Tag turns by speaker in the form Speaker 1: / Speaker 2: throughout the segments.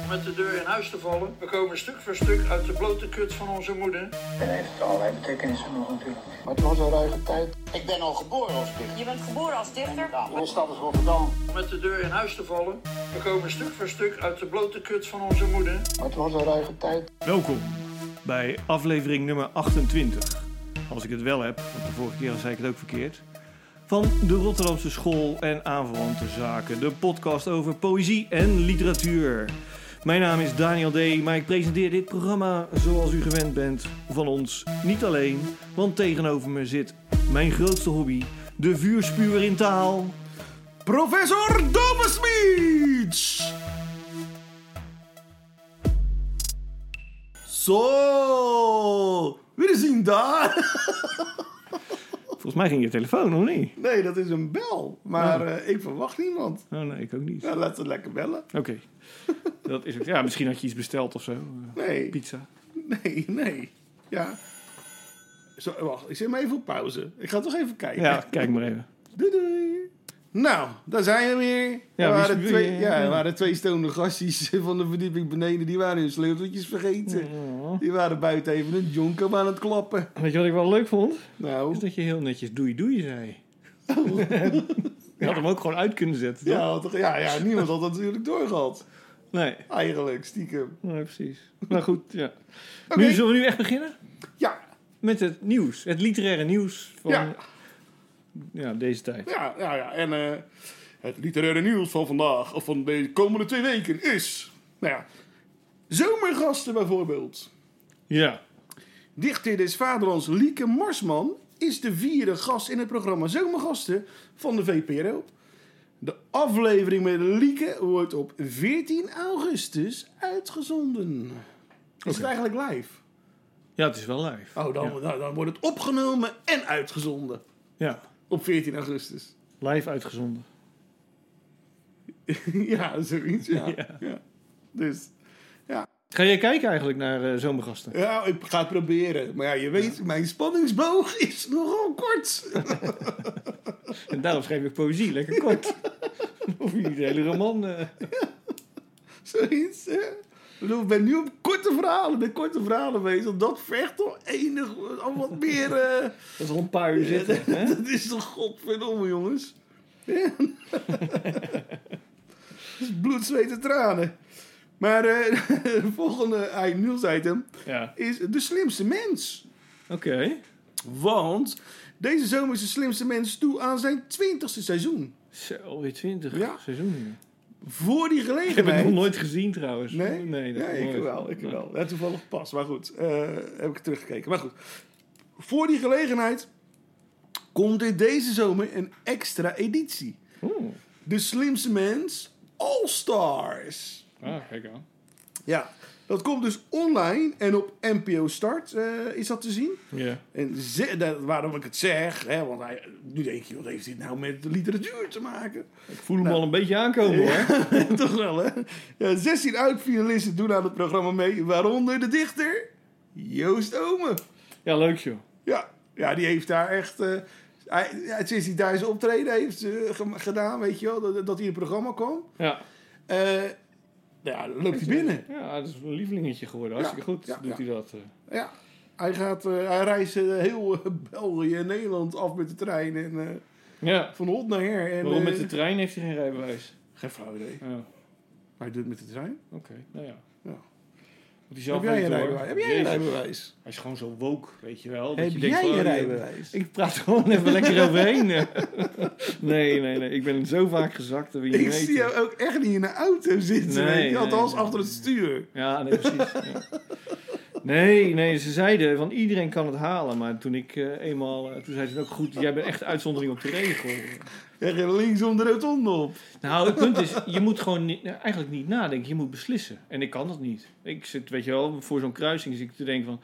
Speaker 1: om met de deur in huis te vallen. We komen stuk voor stuk uit de blote kut van onze moeder.
Speaker 2: En heeft allerlei betekenissen nog natuurlijk.
Speaker 3: Maar het was een ruige tijd.
Speaker 4: Ik ben al geboren als dichter.
Speaker 5: Je bent geboren als dichter?
Speaker 4: Ja, mijn stad is Rotterdam.
Speaker 1: Om met de deur in huis te vallen. We komen stuk voor stuk uit de blote kut van onze moeder.
Speaker 3: Maar het was een ruige tijd.
Speaker 6: Welkom bij aflevering nummer 28. Als ik het wel heb, want de vorige keer zei ik het ook verkeerd. Van de Rotterdamse School en aanverwante zaken. De podcast over poëzie en literatuur. Mijn naam is Daniel D. Maar ik presenteer dit programma zoals u gewend bent van ons. Niet alleen, want tegenover me zit mijn grootste hobby. De vuurspuwer in taal.
Speaker 7: Professor Dobbesmeets! Zo, we zien daar.
Speaker 6: Volgens mij ging je telefoon, of niet?
Speaker 7: Nee, dat is een bel. Maar eh, ik verwacht niemand.
Speaker 6: Oh nee, ik ook niet.
Speaker 7: Nou, laten we lekker bellen.
Speaker 6: Oké. Dat is het. Ja, misschien had je iets besteld of zo. Eh,
Speaker 7: Nee,
Speaker 6: Pizza.
Speaker 7: nee, nee. Ja. Zo, wacht, ik zet me even op pauze. Ik ga toch even kijken.
Speaker 6: Ja, kijk maar even.
Speaker 7: Doei, doei. Nou, daar zijn we weer. er,
Speaker 6: wie
Speaker 7: waren
Speaker 6: is- wie- eh,
Speaker 7: twee, ja, er
Speaker 6: ja.
Speaker 7: waren twee stonende gastjes van de verdieping beneden. Die waren hun sleuteltjes vergeten. Die waren buiten even een jonko aan het klappen.
Speaker 6: Weet je wat ik wel leuk vond? Oh. Is
Speaker 7: Nou,
Speaker 6: dat je heel netjes doei doei zei. je had hem ook gewoon uit kunnen zetten, toch?
Speaker 7: ja, toch, ja, ja, niemand had dat natuurlijk doorgehad.
Speaker 6: Nee,
Speaker 7: Eigenlijk, stiekem.
Speaker 6: nee, precies. Maar goed, ja.
Speaker 7: Oké.
Speaker 6: Nu zullen we nu echt beginnen
Speaker 7: Ja,
Speaker 6: met het nieuws. Het literaire nieuws van
Speaker 7: Ja.
Speaker 6: Ja, deze tijd.
Speaker 7: ja, ja, ja. En eh, het literaire nieuws van vandaag, of van de komende twee weken, is... Nou ja, zomergasten bijvoorbeeld.
Speaker 6: Ja.
Speaker 7: Dichter des Vaderlands Lieke Marsman is de vierde gast in het programma Zomergasten van de VPRO. De aflevering met Lieke wordt op 14 augustus uitgezonden. Is het eigenlijk live?
Speaker 6: ja, het is wel live.
Speaker 7: Oh, dan,
Speaker 6: Ja.
Speaker 7: nou, dan wordt het opgenomen en uitgezonden
Speaker 6: ja,
Speaker 7: op 14 augustus.
Speaker 6: live uitgezonden.
Speaker 7: ja, zoiets, ja.
Speaker 6: Ja.
Speaker 7: ja. Dus,
Speaker 6: Ga jij kijken eigenlijk naar eh, zomergasten?
Speaker 7: ja, ik ga het proberen. Maar ja, je weet, mijn spanningsboog is nogal kort.
Speaker 6: En daarom schrijf ik poëzie, lekker kort. Of je niet de hele roman... eh,
Speaker 7: Zoiets, hè? Ik bedoel, Ik ben nu op korte verhalen, met korte verhalen bezig. Dat vergt toch enig, al wat meer... eh,
Speaker 6: Dat is al een paar uur zitten. Hè?
Speaker 7: dat is toch godverdomme, jongens. Ja. dat is bloed, zweet en tranen. Maar eh het volgende nieuwsitem
Speaker 6: Ja.
Speaker 7: is de slimste mens.
Speaker 6: Oké.
Speaker 7: Want deze zomer is de slimste mens toe aan zijn twintigste seizoen.
Speaker 6: Zo, alweer twintig
Speaker 7: Ja.
Speaker 6: seizoenen.
Speaker 7: Voor die
Speaker 6: Ik heb het nog
Speaker 7: gelegenheid...
Speaker 6: nooit gezien trouwens.
Speaker 7: Nee?
Speaker 6: Nee, dat
Speaker 7: Ja,
Speaker 6: nog
Speaker 7: ik
Speaker 6: nooit. Nou.
Speaker 7: wel. Ik
Speaker 6: Nee.
Speaker 7: wel. Ja, toevallig pas, maar goed. eh, heb ik teruggekeken. Maar goed. Voor die gelegenheid komt er deze zomer een extra editie.
Speaker 6: Oeh.
Speaker 7: De Slimste Mens All Stars.
Speaker 6: Ah, kijk aan.
Speaker 7: Ja, dat komt dus online en op NPO Start eh, is dat te zien.
Speaker 6: Ja.
Speaker 7: En ze- dat- waarom ik het zeg, hè, want hij, nu denk je, wat heeft dit nou met literatuur te maken?
Speaker 6: Ik voel hem
Speaker 7: Nou.
Speaker 6: al een beetje aankomen hoor.
Speaker 7: Toch wel, hè? Ja, 16 oud-finalisten doen aan het programma mee, waaronder de dichter Joost Omen.
Speaker 6: Ja, leuk joh.
Speaker 7: Ja, ja die heeft daar echt... eh, hij, ja, sinds hij daar zijn optreden heeft eh, gem- gedaan, weet je wel, dat, dat hij in het programma kwam.
Speaker 6: Ja.
Speaker 7: eh, ja, dan loopt hij binnen.
Speaker 6: Ja, dat is een lievelingetje geworden. Hartstikke
Speaker 7: Ja,
Speaker 6: goed
Speaker 7: ja,
Speaker 6: doet
Speaker 7: ja.
Speaker 6: hij dat. eh.
Speaker 7: Ja, hij, gaat, eh, hij reist eh, heel eh, België en Nederland af met de trein. En, eh,
Speaker 6: Ja.
Speaker 7: van hot naar her. En,
Speaker 6: Waarom met
Speaker 7: eh,
Speaker 6: de trein heeft hij geen rijbewijs?
Speaker 7: Geen flauw idee.
Speaker 6: Ja. Oké,
Speaker 7: Maar hij doet het met de trein.
Speaker 6: nou ja.
Speaker 7: Ja.
Speaker 6: Moet hij zelf
Speaker 7: heb jij een
Speaker 6: weten, hoor.
Speaker 7: rijbewijs? Heb jij een
Speaker 6: Jezus.
Speaker 7: rijbewijs?
Speaker 6: Hij is gewoon zo woke, weet je wel. dat
Speaker 7: Heb
Speaker 6: je denkt
Speaker 7: jij
Speaker 6: van,
Speaker 7: een
Speaker 6: oh, nee,
Speaker 7: rijbewijs?
Speaker 6: Ik praat er gewoon even lekker overheen. nee, nee, nee. Ik ben zo vaak gezakt dat we je
Speaker 7: Ik
Speaker 6: niet
Speaker 7: zie
Speaker 6: weten.
Speaker 7: jou ook echt niet in een auto zitten.
Speaker 6: Nee,
Speaker 7: weet je, althans
Speaker 6: nee,
Speaker 7: achter het stuur.
Speaker 6: Ja, nee, precies. ja. Nee, nee, ze zeiden van iedereen kan het halen. Maar toen ik eh, eenmaal, eh, toen zei ze ook goed, jij bent echt uitzondering op de regel.
Speaker 7: En geen links om de rotonde op.
Speaker 6: Nou, het punt is, je moet gewoon niet, nou, eigenlijk niet nadenken. Je moet beslissen. En ik kan dat niet. Ik zit, weet je wel, voor zo'n kruising zit ik te denken van...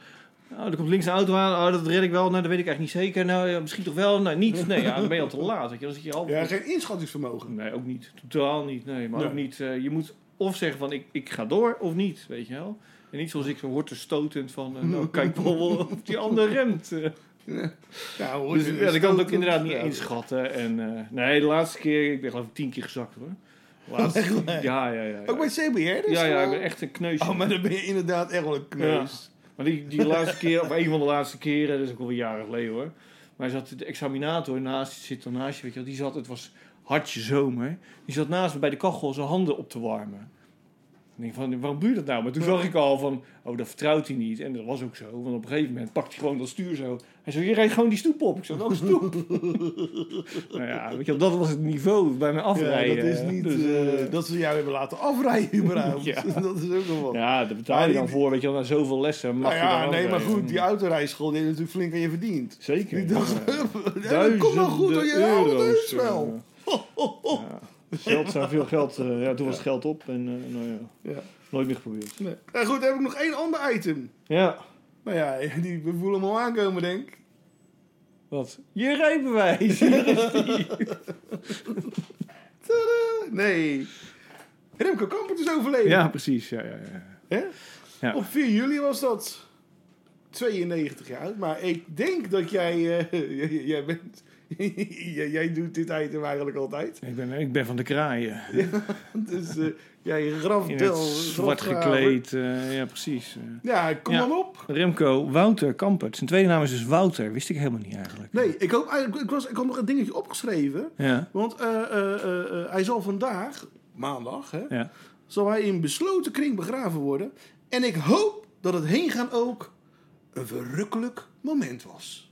Speaker 6: Oh, er komt links een auto aan. Oh, dat red ik wel. Nou, dat weet ik eigenlijk niet zeker. Nou, ja, misschien toch wel. Nou, niet. Nee, ja, dan ben je al te laat. Weet je, dan zit je al...
Speaker 7: Ja, geen inschattingsvermogen.
Speaker 6: Nee, ook niet. Totaal niet. Nee, maar
Speaker 7: Nee.
Speaker 6: ook niet. eh, je moet of zeggen van ik, ik ga door of niet, weet je wel. En niet zoals ik zo hoort te stotend van eh, nou, kijk wel wel of die ander remt. eh.
Speaker 7: Ja, Nou, hoor,
Speaker 6: Dus
Speaker 7: je
Speaker 6: ja, dat kan het ook
Speaker 7: stoot-
Speaker 6: inderdaad niet
Speaker 7: Ja.
Speaker 6: inschatten. En, eh, nee, de laatste keer, ik ben geloof ik tien keer gezakt hoor. Laatst.
Speaker 7: Echt waar?
Speaker 6: Ja, ja, ja.
Speaker 7: Ook bij CBR dus?
Speaker 6: Ja, ja, ik
Speaker 7: gewoon?
Speaker 6: ben echt een kneusje.
Speaker 7: Oh, maar dan ben je inderdaad echt wel een kneus.
Speaker 6: Maar die, die laatste keer, of een van de laatste keren, dat is ook alweer jaren geleden hoor. Maar hij zat de examinator naast, die zit er naast je, weet je wel, die zat, het was hartje zomer. Die zat naast me bij de kachel zijn handen op te warmen. Ik denk van, waarom doe je dat nou? Maar toen zag ik al van, oh, dat vertrouwt hij niet. En dat was ook zo, want op een gegeven moment pakt hij gewoon dat stuur zo. Hij zei, je rijdt gewoon die stoep op. Ik zei, oh, stoep. nou ja, weet je wel, dat was het niveau bij mijn afrijden.
Speaker 7: Ja, dat is niet
Speaker 6: Dus,
Speaker 7: eh,
Speaker 6: eh,
Speaker 7: dat ze jou hebben laten afrijden überhaupt.
Speaker 6: Ja.
Speaker 7: Dat is ook wel wat.
Speaker 6: ja, daar betaal je dan voor, weet je wel, na zoveel lessen mag
Speaker 7: nou
Speaker 6: je
Speaker 7: ja,
Speaker 6: dan
Speaker 7: nee, maar
Speaker 6: afrijden.
Speaker 7: goed, die autorijschool die heeft natuurlijk flink aan je verdiend.
Speaker 6: Zeker.
Speaker 7: Die dacht,
Speaker 6: Ja.
Speaker 7: ja, dat komt wel goed door je
Speaker 6: Duizenden
Speaker 7: auto's
Speaker 6: euro's, eh,
Speaker 7: wel.
Speaker 6: Ja. Zeldzaam veel geld. eh, ja, toen was het geld op en eh, nou ja,
Speaker 7: Ja.
Speaker 6: nooit meer geprobeerd.
Speaker 7: Nee. Nou goed, dan heb ik nog één ander item.
Speaker 6: Ja,
Speaker 7: Nou ja, die, we voelen hem al aankomen, denk ik.
Speaker 6: wat? Je rijbewijs. Hier is die.
Speaker 7: Tadaa! Nee. Remco Kampert is overleden.
Speaker 6: ja, precies. Ja, ja, ja.
Speaker 7: Hè?
Speaker 6: Ja.
Speaker 7: Op 4 juli was dat. 92 jaar oud. Maar ik denk dat jij... eh, j- j- jij bent... jij, jij doet dit item eigenlijk altijd.
Speaker 6: Ik, ben, ik ben van de kraaien.
Speaker 7: Dus eh, jij graf
Speaker 6: In het zwart gekleed. eh, ja, precies. eh.
Speaker 7: Ja, kom
Speaker 6: Ja.
Speaker 7: dan op.
Speaker 6: Remco Wouter Kampert. Zijn tweede naam is dus Wouter. Wist ik helemaal niet eigenlijk.
Speaker 7: Nee, ik, hoop, eigenlijk- ik, was, ik had nog een dingetje opgeschreven.
Speaker 6: Ja,
Speaker 7: Want eh, eh, eh, eh, hij zal vandaag, maandag, hè,
Speaker 6: ja.
Speaker 7: zal hij in besloten kring begraven worden. En ik hoop dat het heengaan ook een verrukkelijk moment was.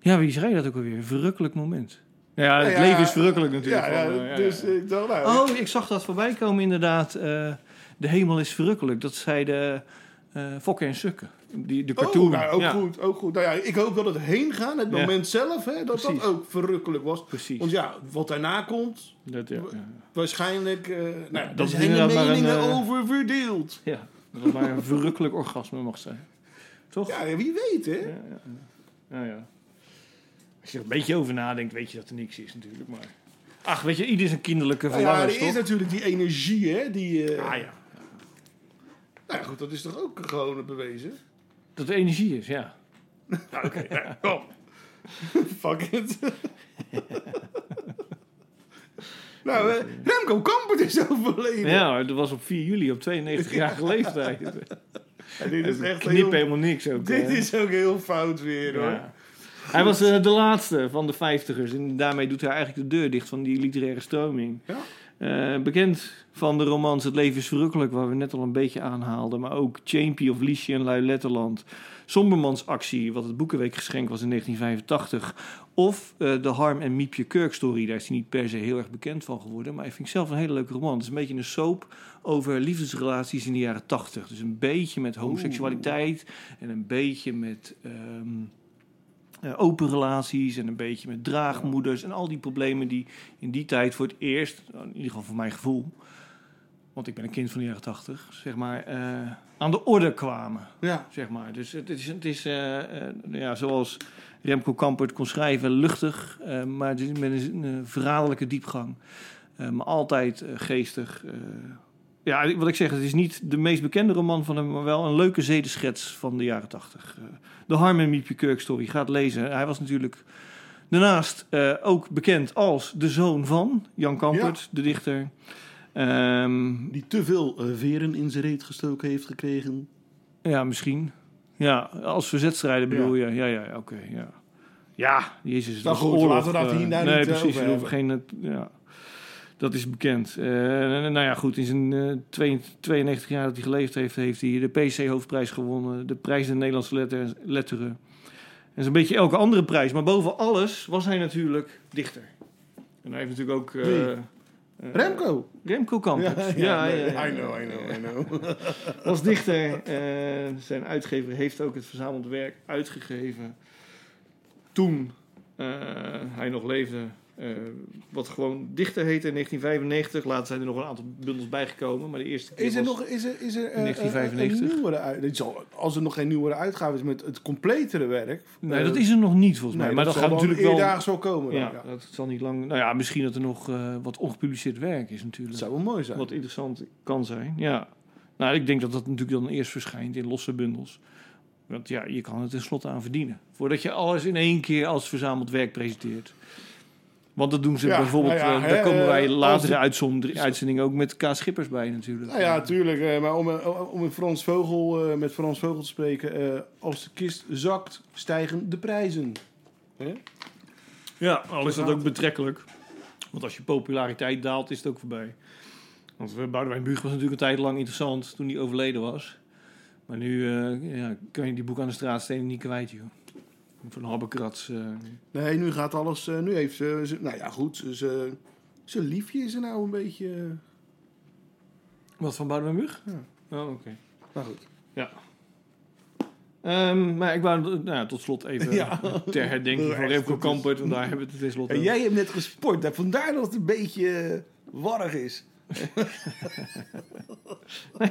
Speaker 6: Ja, wie zei dat ook alweer? Verrukkelijk moment. Ja, het
Speaker 7: Nou ja,
Speaker 6: leven is verrukkelijk natuurlijk.
Speaker 7: Ja, ja,
Speaker 6: Van, eh, ja,
Speaker 7: dus
Speaker 6: ja.
Speaker 7: ik dacht, nou,
Speaker 6: Oh, ik zag dat voorbij komen inderdaad. eh, de hemel is verrukkelijk. Dat zeiden eh Fokker en Sukken. Die, de cartoon.
Speaker 7: Oh, nou, ook
Speaker 6: Ja,
Speaker 7: goed, ook goed. Nou ja, ik hoop dat het heen gaan, het
Speaker 6: Ja.
Speaker 7: moment zelf, hè, dat
Speaker 6: Precies.
Speaker 7: dat ook verrukkelijk was.
Speaker 6: Precies.
Speaker 7: Want ja, wat daarna komt,
Speaker 6: Dat, ja, ja.
Speaker 7: waarschijnlijk, eh nou,
Speaker 6: Ja,
Speaker 7: daar
Speaker 6: dat is
Speaker 7: zijn de
Speaker 6: inderdaad maar een,
Speaker 7: meningen
Speaker 6: eh,
Speaker 7: over verdeeld.
Speaker 6: Ja, dat het maar een verrukkelijk orgasme mag zijn. Toch? Ja,
Speaker 7: Ja, wie weet, hè?
Speaker 6: ja, ja. Ja, ja. Als je er een beetje over nadenkt, weet je dat er niks is natuurlijk. Maar... Ach, weet je, ieder zijn kinderlijke
Speaker 7: Nou ja,
Speaker 6: verlangens,
Speaker 7: er is
Speaker 6: toch?
Speaker 7: natuurlijk die energie, hè? Die, eh,
Speaker 6: Ah ja,
Speaker 7: Nou ja, goed, dat is toch ook gewoon bewezen?
Speaker 6: dat er energie is, ja.
Speaker 7: Fuck it. nou, eh, Remco Kampert is overleden.
Speaker 6: Ja, dat was op 4 juli, op 92-jarige leeftijd.
Speaker 7: Ja, dit is echt
Speaker 6: Knip
Speaker 7: heel,
Speaker 6: helemaal niks ook.
Speaker 7: Dit
Speaker 6: hè.
Speaker 7: is ook heel fout weer, hoor.
Speaker 6: Ja. Hij was eh, de laatste van de vijftigers. En daarmee doet hij eigenlijk de deur dicht van die literaire stroming.
Speaker 7: Ja.
Speaker 6: Eh, bekend van de romans Het leven is verrukkelijk, waar we net al een beetje aanhaalden. Maar ook Champy of Liesje en Lui Letterland. Sombermans Actie, wat het Boekenweekgeschenk was in 1985. Of eh, de Harm en Miepje Kurk story. Daar is hij niet per se heel erg bekend van geworden. Maar ik vind zelf een hele leuke roman. Het is een beetje een soap over liefdesrelaties in de jaren 80. Dus een beetje met homoseksualiteit. En een beetje met ehm, eh, open relaties. En een beetje met draagmoeders. En al die problemen die in die tijd voor het eerst, in ieder geval voor mijn gevoel. Want ik ben een kind van de jaren 80, zeg maar. eh, aan de orde kwamen
Speaker 7: Ja.
Speaker 6: zeg maar. Dus het is, het is eh, eh, nou ja, zoals Remco Kampert kon schrijven, luchtig, eh, maar het is met een, een verraderlijke diepgang. Eh, maar altijd eh, geestig. eh. ja, wat ik zeg, het is niet de meest bekende roman van hem, maar wel een leuke zedeschets van de jaren tachtig. Eh, de Harm en Miepje Kirk story, gaat lezen. Hij was natuurlijk daarnaast eh, ook bekend als de zoon van Jan Kampert, de dichter. Ehm
Speaker 7: Die te veel eh, veren in zijn reet gestoken heeft gekregen.
Speaker 6: Ja, misschien. Ja, als verzetstrijder bedoel je. Ja, ja, ja, oké. ja. ja, Jezus. het was
Speaker 7: goed,
Speaker 6: oorlog,
Speaker 7: laten we dat
Speaker 6: eh,
Speaker 7: hier nou
Speaker 6: nee,
Speaker 7: niet
Speaker 6: precies,
Speaker 7: over
Speaker 6: er hoeven Geen, eh, ja, dat is bekend. Eh, nou ja, goed. In zijn eh, 2 92 jaar dat hij geleefd heeft, heeft hij de PC-hoofdprijs gewonnen. De prijs de Nederlandse letter, letteren. En zo'n beetje elke andere prijs. Maar boven alles was hij natuurlijk dichter. En hij heeft natuurlijk ook... eh,
Speaker 7: Wie?
Speaker 6: eh,
Speaker 7: Remco.
Speaker 6: Remco Kampert.
Speaker 7: nee, I know, I know, I know.
Speaker 6: Als dichter, eh, zijn uitgever heeft ook het verzameld werk uitgegeven. Toen eh, hij nog leefde, eh, wat gewoon dichter heette in 1995. Later zijn er nog een aantal bundels bijgekomen, maar de eerste keer
Speaker 7: Is er
Speaker 6: was-
Speaker 7: nog is er, is er, eh,
Speaker 6: 1995.
Speaker 7: een nieuwere uit? dit zal- Als er nog geen nieuwere uitgave is met het completere werk.
Speaker 6: Nee,
Speaker 7: eh,
Speaker 6: dat is er nog niet volgens mij.
Speaker 7: nee,
Speaker 6: maar dat, gaat natuurlijk wel...
Speaker 7: Eerdaags wel komen. dan,
Speaker 6: ja,
Speaker 7: Ja,
Speaker 6: dat zal niet lang... Nou ja, misschien dat er nog eh, wat ongepubliceerd werk is natuurlijk.
Speaker 7: Dat zou wel mooi zijn.
Speaker 6: Wat interessant kan zijn, ja. Nou, ik denk dat dat natuurlijk dan eerst verschijnt in losse bundels. Want ja, je kan het tenslotte aan verdienen. Voordat je alles in één keer als verzameld werk presenteert. Want dat doen ze
Speaker 7: Ja,
Speaker 6: bijvoorbeeld,
Speaker 7: nou ja,
Speaker 6: eh,
Speaker 7: hè,
Speaker 6: daar komen wij
Speaker 7: eh, als
Speaker 6: later
Speaker 7: die-
Speaker 6: uitzondering, uitzending ook met K. Schippers bij natuurlijk.
Speaker 7: Nou ja, tuurlijk. eh, maar om, eh, om met, Frans Vogel, eh, met Frans Vogel te spreken. eh, als de kist zakt, stijgen de prijzen.
Speaker 6: Ja, al is dat ook betrekkelijk. Want als je populariteit daalt, is het ook voorbij. Want eh, Boudewijn Buug was natuurlijk een tijd lang interessant toen hij overleden was. Maar nu eh, ja, kan je die boek aan de straatstenen niet kwijt, joh. Van Habbekrats. eh.
Speaker 7: Nee, nu gaat alles. eh, nu heeft ze, ze- Nou ja, goed. Ze, ze, ze liefje is er nou een beetje. eh,
Speaker 6: Wat van Boudewijn Buug? Oh, oké.
Speaker 7: nou goed.
Speaker 6: Ja. Ehm, maar ik wou nou, ja, tot slot even
Speaker 7: Ja.
Speaker 6: ter herdenking van
Speaker 7: Echt
Speaker 6: Remco
Speaker 7: goed is.
Speaker 6: Kampert. Want daar hebben we het tenslotte
Speaker 7: En
Speaker 6: over.
Speaker 7: jij hebt net gesport, hè, vandaar dat het een beetje eh, warrig is.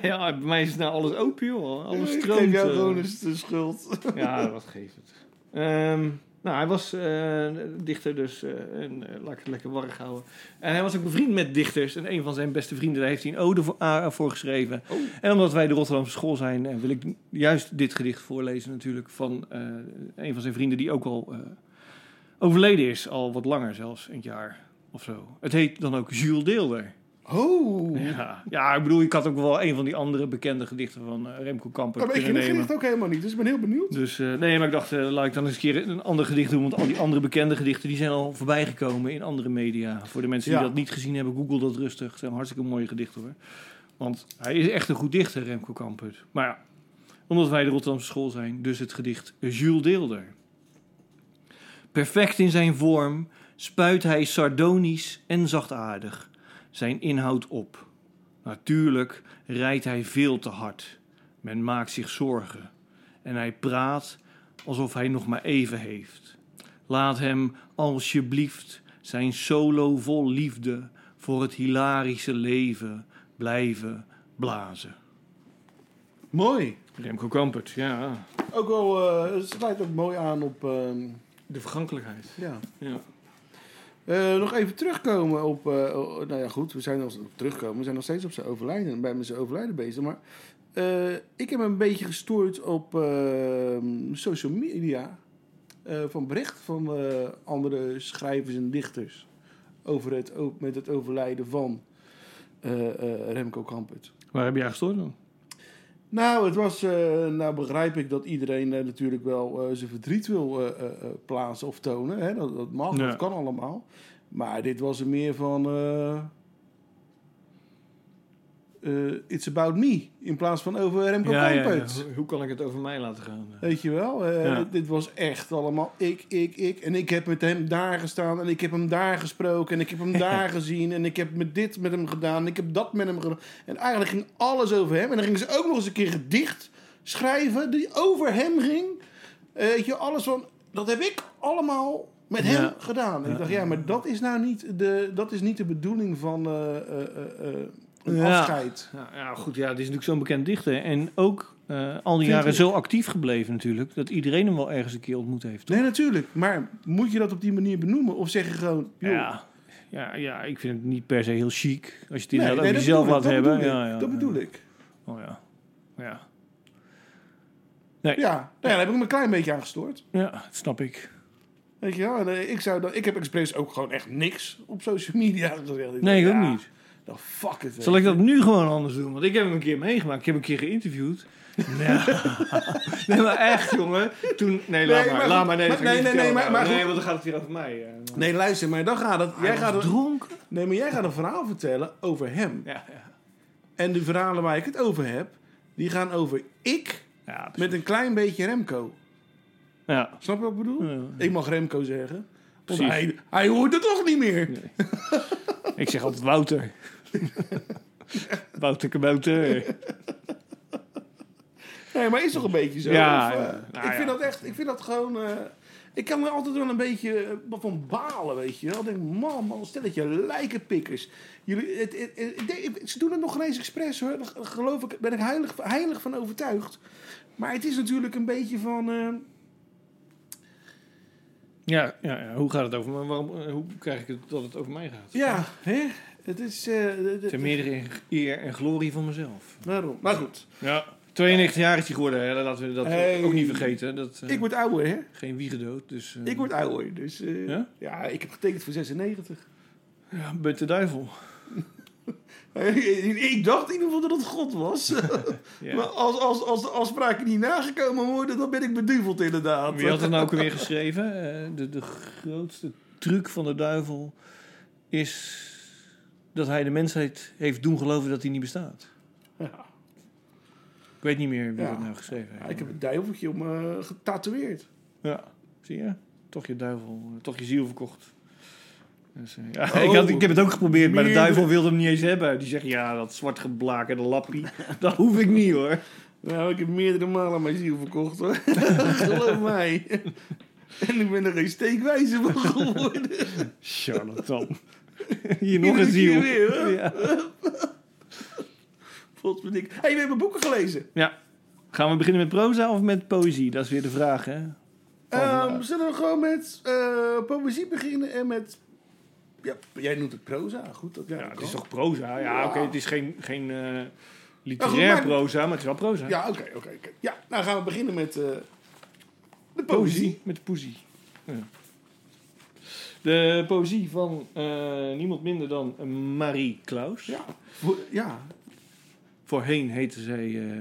Speaker 6: Ja, bij mij is nou alles open, joh. Alles
Speaker 7: Ik
Speaker 6: stroomt.
Speaker 7: geef jou
Speaker 6: eh.
Speaker 7: gewoon eens de schuld.
Speaker 6: Ja, wat geeft het. Ehm, nou, hij was eh, dichter dus, eh, en eh, laat ik het lekker warrig houden. En hij was ook bevriend met dichters. En een van zijn beste vrienden, daar heeft hij een ode voor, aan- voor geschreven. En omdat wij de Rotterdamse school zijn, eh, wil ik juist dit gedicht voorlezen natuurlijk... van eh, een van zijn vrienden die ook al eh, overleden is. Al wat langer zelfs, een jaar of zo. Het heet dan ook Jules Deelder.
Speaker 7: Oh.
Speaker 6: Ja, ja ik bedoel, ik had ook wel een van die andere bekende gedichten van eh, Remco Kamper
Speaker 7: Maar ik
Speaker 6: kunnen
Speaker 7: ken het
Speaker 6: nemen.
Speaker 7: gedicht ook helemaal niet, dus ik ben heel benieuwd.
Speaker 6: Dus eh, nee, maar ik dacht, eh, laat ik dan eens een keer een ander gedicht doen. Want al die andere bekende gedichten die zijn al voorbij gekomen in andere media. Voor de mensen die
Speaker 7: Ja.
Speaker 6: dat niet gezien hebben, google dat rustig. Het zijn hartstikke mooie gedichten hoor. Want hij is echt een goed dichter, Remco Kampert. Maar ja, omdat wij de Rotterdamse school zijn, dus het gedicht Jules Deelder. Perfect in zijn vorm spuit hij sardonisch en zachtaardig zijn inhoud op. Natuurlijk rijdt hij veel te hard. Men maakt zich zorgen en hij praat alsof hij nog maar even heeft. Laat hem alsjeblieft zijn solo vol liefde voor het hilarische leven blijven blazen.
Speaker 7: Mooi.
Speaker 6: Remco Kampert, ja.
Speaker 7: Ook wel, eh, het sluit ook mooi aan op. ehm,
Speaker 6: De vergankelijkheid.
Speaker 7: ja.
Speaker 6: Ja.
Speaker 7: Eh, nog even terugkomen op. eh, oh, nou ja, goed, we zijn nog terugkomen. We zijn nog steeds op zijn overlijden, bij zijn overlijden bezig. Maar eh, ik heb me een beetje gestoord op ehm, social media eh, van bericht van eh, andere schrijvers en dichters over het, o- met het overlijden van eh, eh, Remco Kampert.
Speaker 6: Waar heb jij gestoord dan?
Speaker 7: Nou, het was, eh, nou begrijp ik dat iedereen eh, natuurlijk wel eh, zijn verdriet wil eh, eh, eh, plaatsen of tonen. Hè? Dat, dat mag,
Speaker 6: Ja.
Speaker 7: dat kan allemaal. Maar dit was er meer van. eh, eh, it's about me. In plaats van over Remco Kampert.
Speaker 6: Hoe, hoe kan ik het over mij laten gaan?
Speaker 7: Weet je wel, eh,
Speaker 6: Ja.
Speaker 7: dit was echt allemaal ik, ik, ik. En ik heb met hem daar gestaan en ik heb hem daar gesproken en ik heb hem daar gezien en ik heb met dit met hem gedaan en ik heb dat met hem gedaan. En eigenlijk ging alles over hem. En dan gingen ze ook nog eens een keer gedicht schrijven die over hem ging. Eh, weet je, alles van, dat heb ik allemaal met hem
Speaker 6: Ja.
Speaker 7: gedaan. En ik dacht, ja, maar dat is nou niet de, dat is niet de bedoeling van eh, eh, eh, eh, een
Speaker 6: Ja.
Speaker 7: afscheid.
Speaker 6: Nou ja, goed, ja, dit is natuurlijk zo'n bekend dichter. En ook eh, al die
Speaker 7: Vind
Speaker 6: jaren
Speaker 7: ik.
Speaker 6: zo actief gebleven natuurlijk, dat iedereen hem wel ergens een keer ontmoet heeft.
Speaker 7: Nee, natuurlijk. Maar moet je dat op die manier benoemen? Of zeg je gewoon, joh,
Speaker 6: Ja. Ja, ja, ik vind het niet per se heel chic. Als je het
Speaker 7: Nee,
Speaker 6: inderdaad
Speaker 7: nee,
Speaker 6: over
Speaker 7: dat
Speaker 6: jezelf
Speaker 7: bedoel
Speaker 6: laat
Speaker 7: ik, dat
Speaker 6: hebben.
Speaker 7: bedoel ik,
Speaker 6: ja, ja,
Speaker 7: dat bedoel ik.
Speaker 6: Oh ja. Ja.
Speaker 7: Ja, nou ja, daar heb ik me een klein beetje aan gestoord.
Speaker 6: ja, dat snap ik.
Speaker 7: Weet je wel? En, eh, ik, zou dan, ik heb expres ook gewoon echt niks op social media gezegd.
Speaker 6: Nee, ik
Speaker 7: dacht,
Speaker 6: ook
Speaker 7: ja,
Speaker 6: niet.
Speaker 7: Dan fuck het.
Speaker 6: Zal ik dat nu gewoon anders doen? Want ik heb hem een keer meegemaakt. Ik heb hem een keer geïnterviewd. Nee, nee maar echt, jongen. Toen, nee, laat
Speaker 7: Nee,
Speaker 6: maar.
Speaker 7: maar
Speaker 6: laat
Speaker 7: goed.
Speaker 6: maar. Nee, dat ga ik
Speaker 7: Maar- nee,
Speaker 6: niet
Speaker 7: nee, nee,
Speaker 6: vertellen.
Speaker 7: maar- maar
Speaker 6: nee,
Speaker 7: goed.
Speaker 6: want dan gaat het hier over mij. eh.
Speaker 7: Nee, luister, maar dan gaat het. jij
Speaker 6: Hij
Speaker 7: gaat
Speaker 6: was
Speaker 7: het
Speaker 6: dronken.
Speaker 7: nee, maar jij gaat een verhaal vertellen over hem.
Speaker 6: Ja, ja.
Speaker 7: En de verhalen waar ik het over heb, die gaan over ik
Speaker 6: Ja, dat is-
Speaker 7: met een klein beetje Remco.
Speaker 6: ja.
Speaker 7: Snap je wat ik bedoel?
Speaker 6: Ja.
Speaker 7: Ik mag Remco zeggen. Want
Speaker 6: Precies.
Speaker 7: hij, hij hoort het toch niet meer.
Speaker 6: Ik zeg altijd Wouter. Wouter Kabouter.
Speaker 7: Nee, maar is toch een beetje zo?
Speaker 6: Ja,
Speaker 7: Of, eh,
Speaker 6: ja. Nou
Speaker 7: ik vind
Speaker 6: ja.
Speaker 7: dat echt, ik vind dat gewoon. eh, ik kan er altijd wel een beetje eh, van balen, weet je wel. Ik denk, man, man, stelletje lijkenpikkers. Jullie, het, het- het- de- ze doen het nog geen eens expres hoor. Daar geloof ik, ben ik heilig, heilig van overtuigd. Maar het is natuurlijk een beetje van. eh,
Speaker 6: Ja, ja, ja, hoe gaat het over me? Waarom, eh, hoe krijg ik het dat het over mij gaat?
Speaker 7: ja, hè? Het is. eh, de- de-
Speaker 6: Ter meerdere eer en glorie van mezelf.
Speaker 7: Daarom. Maar goed.
Speaker 6: Ja. 92-jarige geworden, hè? laten we dat
Speaker 7: Hey.
Speaker 6: ook niet vergeten. Dat, eh,
Speaker 7: Ik word ouder, hè?
Speaker 6: Geen wiegedood, dus... eh,
Speaker 7: Ik word ouder, dus... eh,
Speaker 6: Ja?
Speaker 7: ja? ik heb getekend voor 96.
Speaker 6: ja, bent de duivel.
Speaker 7: ik dacht in ieder geval dat het God was.
Speaker 6: Ja.
Speaker 7: Maar als, als, als de afspraken niet nagekomen worden, dan ben ik beduveld inderdaad.
Speaker 6: Wie had het nou ook weer geschreven? Eh, de, de grootste truc van de duivel is dat hij de mensheid heeft doen geloven dat hij niet bestaat.
Speaker 7: Ja.
Speaker 6: Ik weet niet meer wie
Speaker 7: Ja.
Speaker 6: dat nou geschreven heeft.
Speaker 7: Ja, ik heb een duiveltje om me getatoeëerd.
Speaker 6: Ja, zie je? Toch je duivel, eh, toch je ziel verkocht. Dus, eh, ja,
Speaker 7: Oh.
Speaker 6: ik, had, ik heb het ook geprobeerd, maar de
Speaker 7: Meerdere-
Speaker 6: duivel wilde hem niet eens hebben. Die zegt, ja, dat zwart geblakerde lappie, dat hoef ik niet hoor.
Speaker 7: Nou, ik heb meerdere malen mijn ziel verkocht hoor. Geloof mij. En ik ben er geen steekwijze van geworden.
Speaker 6: Charlatan. Hier nog een
Speaker 7: Iedere keer
Speaker 6: ziel.
Speaker 7: weer, hè?
Speaker 6: Ja.
Speaker 7: Potverdik. Hé, hey, we hebben boeken gelezen.
Speaker 6: Ja. Gaan we beginnen met proza of met poëzie? Dat is weer de vraag, hè? Oh,
Speaker 7: Ehm,
Speaker 6: vandaag.
Speaker 7: zullen we gewoon met eh, poëzie beginnen en met... Ja, jij noemt het proza. Goed, dat, ja,
Speaker 6: Ja,
Speaker 7: dat
Speaker 6: het
Speaker 7: kan.
Speaker 6: is toch proza? Ja, oké, het is geen, geen eh, literair
Speaker 7: Ja, goed, maar-
Speaker 6: proza, maar het is wel proza.
Speaker 7: Ja, oké, oké. oké. Ja, nou gaan we beginnen met eh, de poëzie.
Speaker 6: Poëzie met de poezie. Ja. De poëzie van eh, niemand minder dan Marie Klaus.
Speaker 7: Ja. Voor- ja,
Speaker 6: Voorheen heette zij eh,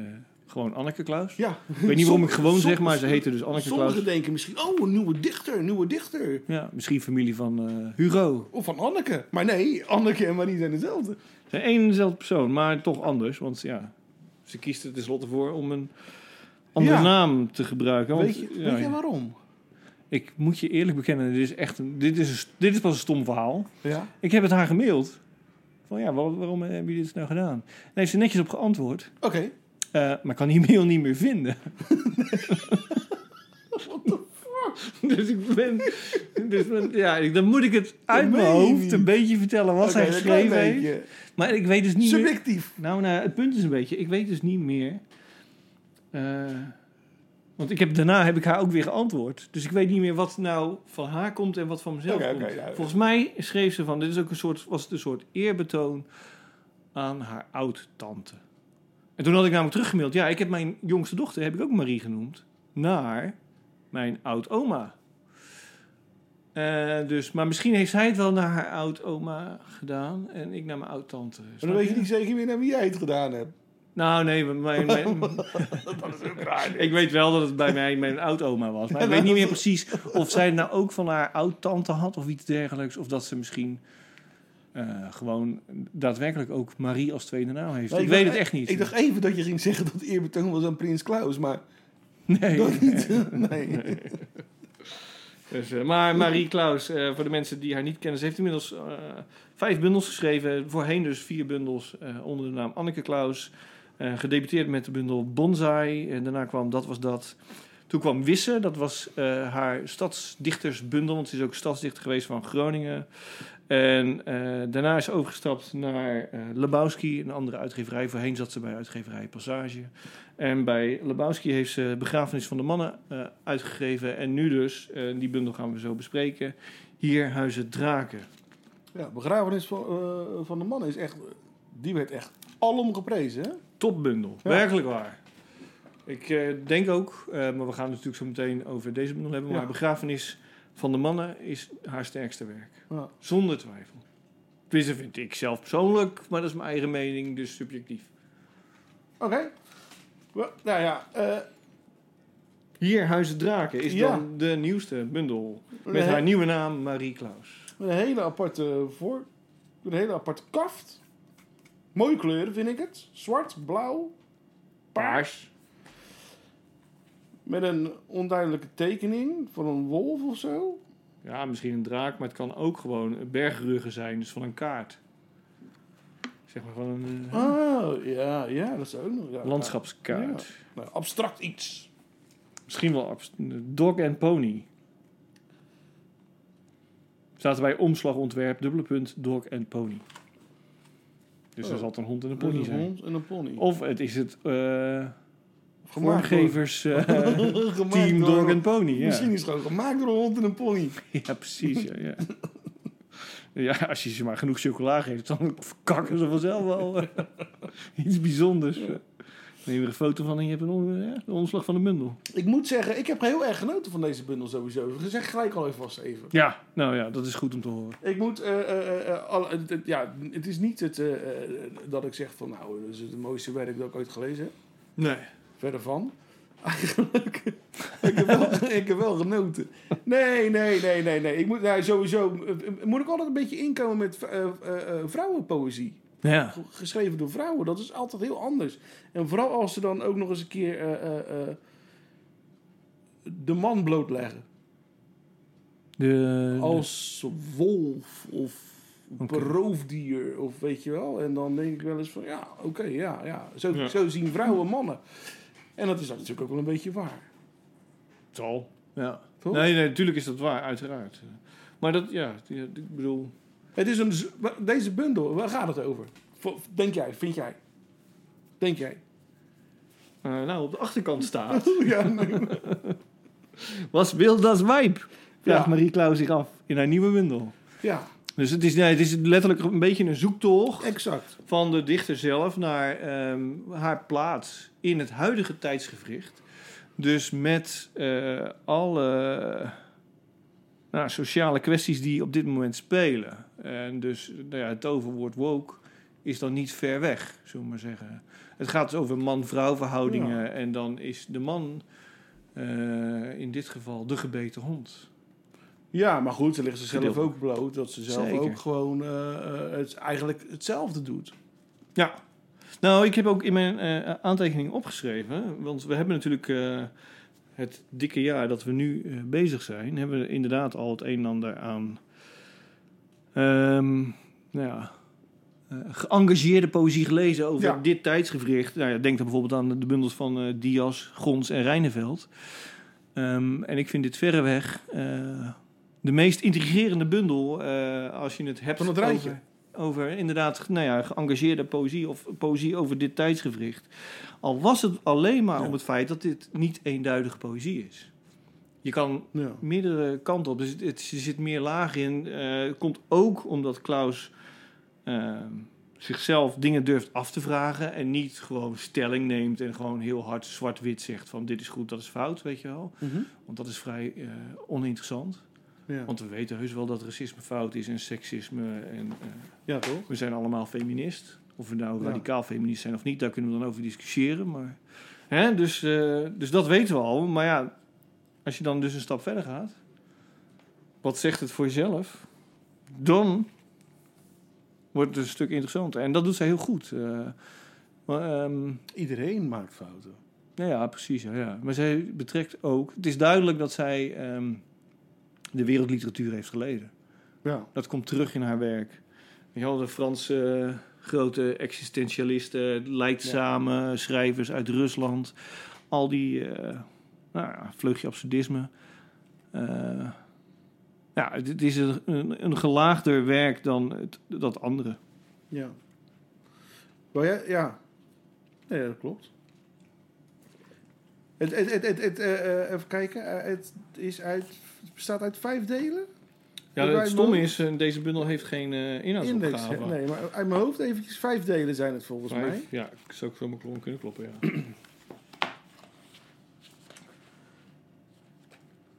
Speaker 6: gewoon Anneke Klaus.
Speaker 7: ja.
Speaker 6: Ik weet niet waarom ik gewoon zeg, maar ze heette dus Anneke
Speaker 7: Sommigen
Speaker 6: Klaus.
Speaker 7: denken misschien, oh, een nieuwe dichter, een nieuwe dichter.
Speaker 6: Ja, misschien familie van eh, Hugo.
Speaker 7: Of van Anneke. Maar nee, Anneke en Marie zijn dezelfde.
Speaker 6: Ze zijn één en dezelfde persoon, maar toch anders. Want ja, ze kiest er tenslotte voor om een andere
Speaker 7: Ja.
Speaker 6: naam te gebruiken. Want,
Speaker 7: weet je,
Speaker 6: ja,
Speaker 7: weet je waarom?
Speaker 6: Ik moet je eerlijk bekennen, dit is, echt een, dit, is een, dit is pas een stom verhaal.
Speaker 7: Ja.
Speaker 6: Ik heb het haar gemaild. Van ja, waar- waarom heb je dit nou gedaan? Daar heeft ze netjes op geantwoord.
Speaker 7: Oké.
Speaker 6: eh, maar ik kan die mail niet meer vinden. Dus ik ben... Dus ben- ja, ik- dan moet ik het uit
Speaker 7: meen
Speaker 6: mijn
Speaker 7: je
Speaker 6: hoofd
Speaker 7: niet.
Speaker 6: een beetje vertellen wat
Speaker 7: Oké,
Speaker 6: zij
Speaker 7: een klein
Speaker 6: geschreven heeft.
Speaker 7: beetje.
Speaker 6: Maar ik weet dus niet meer...
Speaker 7: Subjectief.
Speaker 6: Nou, nou, het punt is een beetje, ik weet dus niet meer. eh, want ik heb, daarna heb ik haar ook weer geantwoord. Dus ik weet niet meer wat nou van haar komt en wat van mezelf
Speaker 7: Oké, nou,
Speaker 6: komt.
Speaker 7: oké, ja, ja.
Speaker 6: Volgens mij schreef ze van, dit is ook een soort, was het een soort eerbetoon aan haar oud-tante. En toen had ik namelijk teruggemaild, ja, ik heb mijn jongste dochter, heb ik ook Marie genoemd, naar mijn oud-oma. Eh, dus, maar misschien heeft zij het wel naar haar oud-oma gedaan en ik naar mijn oud-tante.
Speaker 7: Maar dan weet je niet zeker meer naar wie jij het gedaan hebt.
Speaker 6: Nou, nee, mijn, mijn,
Speaker 7: Dat is ook raar.
Speaker 6: ik weet wel dat het bij mij mijn oud-oma was. Maar ik weet niet meer precies of zij het nou ook van haar oud-tante had of iets dergelijks. Of dat ze misschien eh, gewoon daadwerkelijk ook Marie als tweede naam heeft. ik weet het echt niet.
Speaker 7: Ik dacht even dat je ging zeggen dat het eerbetoon was aan Prins Klaus, maar
Speaker 6: nee.
Speaker 7: dat niet. Nee.
Speaker 6: Dus, eh, maar Marie Klaus, eh, voor de mensen die haar niet kennen, ze heeft inmiddels eh, vijf bundels geschreven. Voorheen dus vier bundels eh, onder de naam Anneke Klaus. Eh, gedebuteerd met de bundel Bonsai. En daarna kwam Dat Was Dat. Toen kwam Wisse, dat was eh, haar stadsdichtersbundel, want ze is ook stadsdichter geweest van Groningen. En eh, daarna is ze overgestapt naar eh, Lebowski, een andere uitgeverij. Voorheen zat ze bij uitgeverij Passage. En bij Lebowski heeft ze Begrafenis van de Mannen eh, uitgegeven. En nu dus, eh, die bundel gaan we zo bespreken, hier Huizen Draken.
Speaker 7: Ja, begrafenis van, eh, van de man is echt... Die werd echt alom geprezen, hè?
Speaker 6: Topbundel,
Speaker 7: Ja.
Speaker 6: werkelijk waar. Ik eh, denk ook, eh, maar we gaan het natuurlijk zo meteen over deze bundel hebben.
Speaker 7: Ja.
Speaker 6: Maar Begrafenis van de Mannen is haar sterkste werk.
Speaker 7: Ja.
Speaker 6: Zonder twijfel. Tenminste vind ik zelf persoonlijk, maar dat is mijn eigen mening, dus subjectief.
Speaker 7: Oké. Wel, Nou ja, eh,
Speaker 6: Hier Huizen Draken is
Speaker 7: Ja.
Speaker 6: dan de nieuwste bundel. Met
Speaker 7: Nee.
Speaker 6: haar nieuwe naam Marie Klaus.
Speaker 7: Met een hele aparte voor. Met een hele aparte kaft. Mooie kleuren vind ik het. Zwart, blauw.
Speaker 6: Paars.
Speaker 7: Met een onduidelijke tekening van een wolf of zo.
Speaker 6: Ja, misschien een draak, maar het kan ook gewoon bergruggen zijn, dus van een kaart. Zeg maar van een eh,
Speaker 7: Oh, ja, ja, dat is ook nog. Ja.
Speaker 6: landschapskaart.
Speaker 7: Ja. Nou, abstract iets.
Speaker 6: Misschien wel abs- eh, dog en pony. Staat er bij omslagontwerp, dubbele punt, dog en pony. Dus er
Speaker 7: Oh.
Speaker 6: zal een hond en een
Speaker 7: Een
Speaker 6: pony zijn.
Speaker 7: hond en een pony.
Speaker 6: Of het is het eh
Speaker 7: Gemaakt door-
Speaker 6: vormgevers eh,
Speaker 7: Gemaakt
Speaker 6: team
Speaker 7: door-
Speaker 6: dog en pony. Ja.
Speaker 7: Misschien is het gewoon gemaakt door een hond en een pony.
Speaker 6: Ja, precies. Ja, ja. ja, als je ze maar genoeg chocola geeft, dan verkakken ze vanzelf wel eh, iets bijzonders. Ja. Neem weer een foto van en je hebt een on- ja, de omslag van de bundel.
Speaker 7: Ik moet zeggen, ik heb heel erg genoten van deze bundel sowieso. Dat zeg ik gelijk al even vast even.
Speaker 6: Ja, nou ja, dat is goed om te horen.
Speaker 7: Ik moet, eh, eh, eh, eh, alle- het- het- ja, het is niet het, eh, eh, dat ik zeg van nou, dat is het mooiste werk dat ik ooit gelezen heb.
Speaker 6: Nee.
Speaker 7: Verder van. Eigenlijk. ik, heb wel, ik heb wel genoten. Nee, nee, nee, nee, nee. Ik moet, nou, sowieso eh, eh, moet ik altijd een beetje inkomen met eh, eh, eh, vrouwenpoëzie.
Speaker 6: Ja.
Speaker 7: G- Geschreven door vrouwen, dat is altijd heel anders. En vooral als ze dan ook nog eens een keer eh, eh, eh, de man blootleggen.
Speaker 6: De,
Speaker 7: Als wolf of
Speaker 6: Oké.
Speaker 7: roofdier of weet je wel. En dan denk ik wel eens van ja, oké, ja, ja. Zo,
Speaker 6: Ja.
Speaker 7: zo zien vrouwen mannen. En dat is dan natuurlijk ook wel een beetje waar.
Speaker 6: Tal. Ja.
Speaker 7: Toch?
Speaker 6: Nee, nee, natuurlijk is dat waar, uiteraard. Maar dat, ja, die- ik bedoel...
Speaker 7: Het is een, z- wa- deze bundel, waar gaat het over? Vo- Denk jij, vind jij? Denk jij?
Speaker 6: eh, nou, op de achterkant staat...
Speaker 7: Ja, nee.
Speaker 6: Was wil dat wijp? Vraagt
Speaker 7: Ja.
Speaker 6: Marie Klauw zich af in haar nieuwe bundel.
Speaker 7: ja
Speaker 6: Dus het is, nee, het is letterlijk een beetje een zoektocht
Speaker 7: exact.
Speaker 6: van de dichter zelf naar ehm, haar plaats in het huidige tijdsgevricht. Dus met eh, alle nou, sociale kwesties die op dit moment spelen. En dus nou ja, het toverwoord woke is dan niet ver weg, zullen we maar zeggen. Het gaat dus over man-vrouw verhoudingen en dan is de man eh, in dit geval de gebeten hond.
Speaker 7: Ja, maar goed, dan ligt ze zelf
Speaker 6: Gedeeltelijk.
Speaker 7: ook bloot. Dat ze zelf
Speaker 6: Zeker.
Speaker 7: ook gewoon eh, eh, het, eigenlijk hetzelfde doet.
Speaker 6: Ja. Nou, ik heb ook in mijn eh, aantekening opgeschreven. Want we hebben natuurlijk eh, het dikke jaar dat we nu eh, bezig zijn. Hebben we inderdaad al het een en ander aan. ehm, nou ja. eh, geëngageerde poëzie gelezen over
Speaker 7: Ja.
Speaker 6: dit tijdsgevricht. Nou ja, denk dan bijvoorbeeld aan de bundels van eh, Dias, Gons en Rijneveld. Ehm, en ik vind dit verreweg eh, de meest intrigerende bundel eh, als je het hebt
Speaker 7: Van het rijtje.
Speaker 6: over- over inderdaad nou ja, geëngageerde poëzie of poëzie over dit tijdsgevricht. Al was het alleen maar
Speaker 7: Ja.
Speaker 6: om het feit dat dit niet eenduidige poëzie is. Je kan
Speaker 7: Ja.
Speaker 6: meerdere kanten op, dus het, het- er zit meer laag in. Eh, komt ook omdat Klaus eh, zichzelf dingen durft af te vragen en niet gewoon stelling neemt en gewoon heel hard zwart-wit zegt van dit is goed, dat is fout, weet je wel.
Speaker 7: Mhm.
Speaker 6: Want dat is vrij eh, oninteressant.
Speaker 7: ja.
Speaker 6: Want we weten heus wel dat racisme fout is en seksisme en... eh,
Speaker 7: ja, toch?
Speaker 6: we zijn allemaal feminist. Of we nou
Speaker 7: Ja.
Speaker 6: radicaal feminist zijn of niet, daar kunnen we dan over discussiëren. Maar, hè, dus, eh, dus dat weten we al. Maar ja, als je dan dus een stap verder gaat, wat zegt het voor jezelf? Dan wordt het een stuk interessanter. En dat doet zij heel goed. Eh, maar, ehm,
Speaker 7: Iedereen maakt fouten.
Speaker 6: ja, ja, precies. Ja, ja. Maar zij betrekt ook. Het is duidelijk dat zij ehm, de wereldliteratuur heeft gelezen.
Speaker 7: Ja.
Speaker 6: Dat komt terug in haar werk. Weet je wel, de Franse eh, grote existentialisten, lijdzame schrijvers uit Rusland. Al die, eh, nou ja, vleugje absurdisme. Eh, ja, het, het is een, een, een gelaagder werk dan het, dat andere.
Speaker 7: Ja. Maar ja, ja. Nee, dat klopt. Het, het, het, het, het, eh, eh, even kijken. Eh, het, is uit, het bestaat uit vijf delen.
Speaker 6: Ja,
Speaker 7: Wij
Speaker 6: het stomme
Speaker 7: mogen-
Speaker 6: is, eh, deze bundel heeft geen eh
Speaker 7: Index.
Speaker 6: inhoudsopgave.
Speaker 7: hè? Nee, maar uit mijn hoofd eventjes vijf delen zijn het volgens
Speaker 6: Vijf,
Speaker 7: mij.
Speaker 6: Ja, ik zou ik zo mijn klon kunnen kloppen, ja.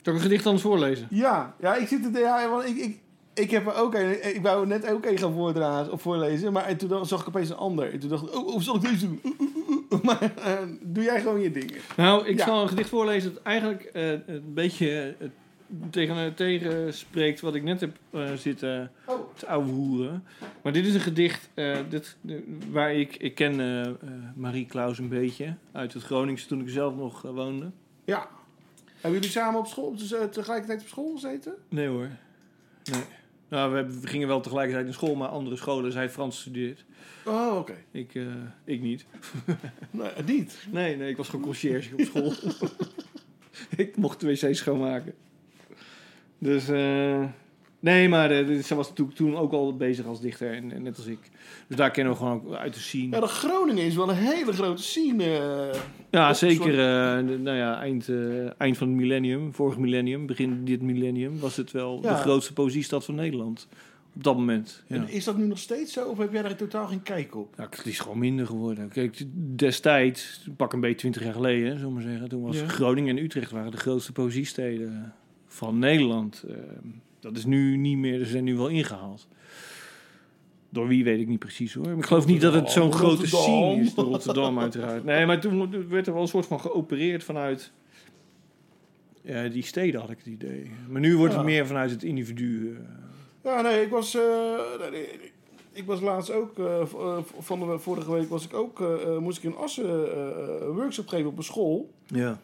Speaker 6: Zal ik een gedicht anders voorlezen?
Speaker 7: Ja, ja, ik zit het. Ja, want ik, ik, ik heb er ook een. Ik wou er net ook een gaan voordragen of voorlezen. Maar en toen dacht- zag ik opeens een ander. En toen dacht ik, oh, oh, zal ik deze doen? Oeh, oeh, oeh, oeh. Maar eh, doe jij gewoon je dingen.
Speaker 6: Nou, ik
Speaker 7: Ja.
Speaker 6: zal een gedicht voorlezen dat eigenlijk eh, een beetje eh, tegen, tegenspreekt wat ik net heb eh, zitten
Speaker 7: Oh.
Speaker 6: te ouwe hoeren. Maar dit is een gedicht eh, dit, eh, waar ik... Ik ken eh, eh, Marie Klaus een beetje uit het Groningse toen ik zelf nog eh, woonde.
Speaker 7: Ja. Hebben jullie samen op school, dus, eh, tegelijkertijd op school gezeten?
Speaker 6: Nee hoor. Nee. Nou, we, hebben- we gingen wel tegelijkertijd naar school, maar andere scholen. Zij Frans studeert.
Speaker 7: Oh, oké.
Speaker 6: Ik, eh, ik niet.
Speaker 7: Nee, niet.
Speaker 6: Nee, nee, ik was gewoon conciërge op school. ik mocht de wc schoonmaken. Dus, eh, nee, maar eh, dit- ze was toen, toen ook al bezig als dichter, en, en net als ik. Dus daar kennen we gewoon ook uit te
Speaker 7: Ja,
Speaker 6: zien.
Speaker 7: de Groningen is wel een hele grote scene. eh.
Speaker 6: Ja,
Speaker 7: dat-
Speaker 6: zeker, eh, de- nou ja, eind, eh, eind van het millennium, vorig millennium, begin dit millennium, was het wel
Speaker 7: Ja.
Speaker 6: de grootste poëziestad van Nederland. Op dat moment. Ja.
Speaker 7: En Is dat nu nog steeds zo of heb jij daar totaal geen kijk op?
Speaker 6: Ja, Nou, het is gewoon minder geworden. Kijk, destijds, pak een beetje 20 jaar geleden, zullen we maar zeggen, toen was
Speaker 7: Ja.
Speaker 6: Groningen en Utrecht waren de grootste poëziesteden van Nederland. Eh, dat is nu niet meer, ze zijn nu wel ingehaald. Door wie weet ik niet precies hoor. Maar ik geloof niet dat het zo'n grote scene is, door Rotterdam uiteraard. Nee, maar toen werd er wel een soort van geopereerd vanuit eh, die steden, had ik het idee. Maar nu wordt het
Speaker 7: Ja.
Speaker 6: meer vanuit het individu. eh.
Speaker 7: Ja, nee, ik was, eh, nee, nee, nee. ik was laatst ook, eh, v- eh, van de vorige week was ik ook, eh, eh, moest ik in Assen eh, eh, workshop geven op een school.
Speaker 6: ja.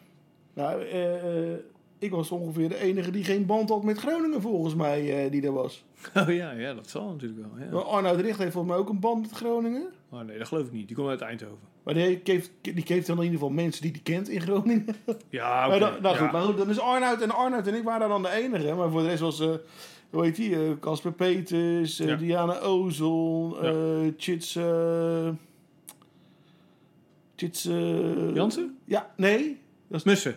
Speaker 7: Nou, eh, eh, ik was ongeveer de enige die geen band had met Groningen volgens mij, eh, die er was.
Speaker 6: Oh ja, ja, dat zal natuurlijk wel.
Speaker 7: Maar
Speaker 6: Ja.
Speaker 7: Arnoud Richt heeft volgens mij ook een band met Groningen.
Speaker 6: Maar nee, dat geloof ik niet. Die komt uit Eindhoven.
Speaker 7: Maar die heeft, die heeft dan in ieder geval mensen die die kent in Groningen.
Speaker 6: Ja,
Speaker 7: Maar
Speaker 6: oké.
Speaker 7: dan, nou
Speaker 6: Ja.
Speaker 7: goed, maar goed, dan is Arnoud en Arnoud en ik waren dan de enige. Maar voor de rest was, eh hoe heet die, eh, Casper Peters, eh,
Speaker 6: Ja.
Speaker 7: Diana Ozon, eh Chits... eh, Chits... eh,
Speaker 6: Jansen?
Speaker 7: Ja, nee. Dat is
Speaker 6: Mussen.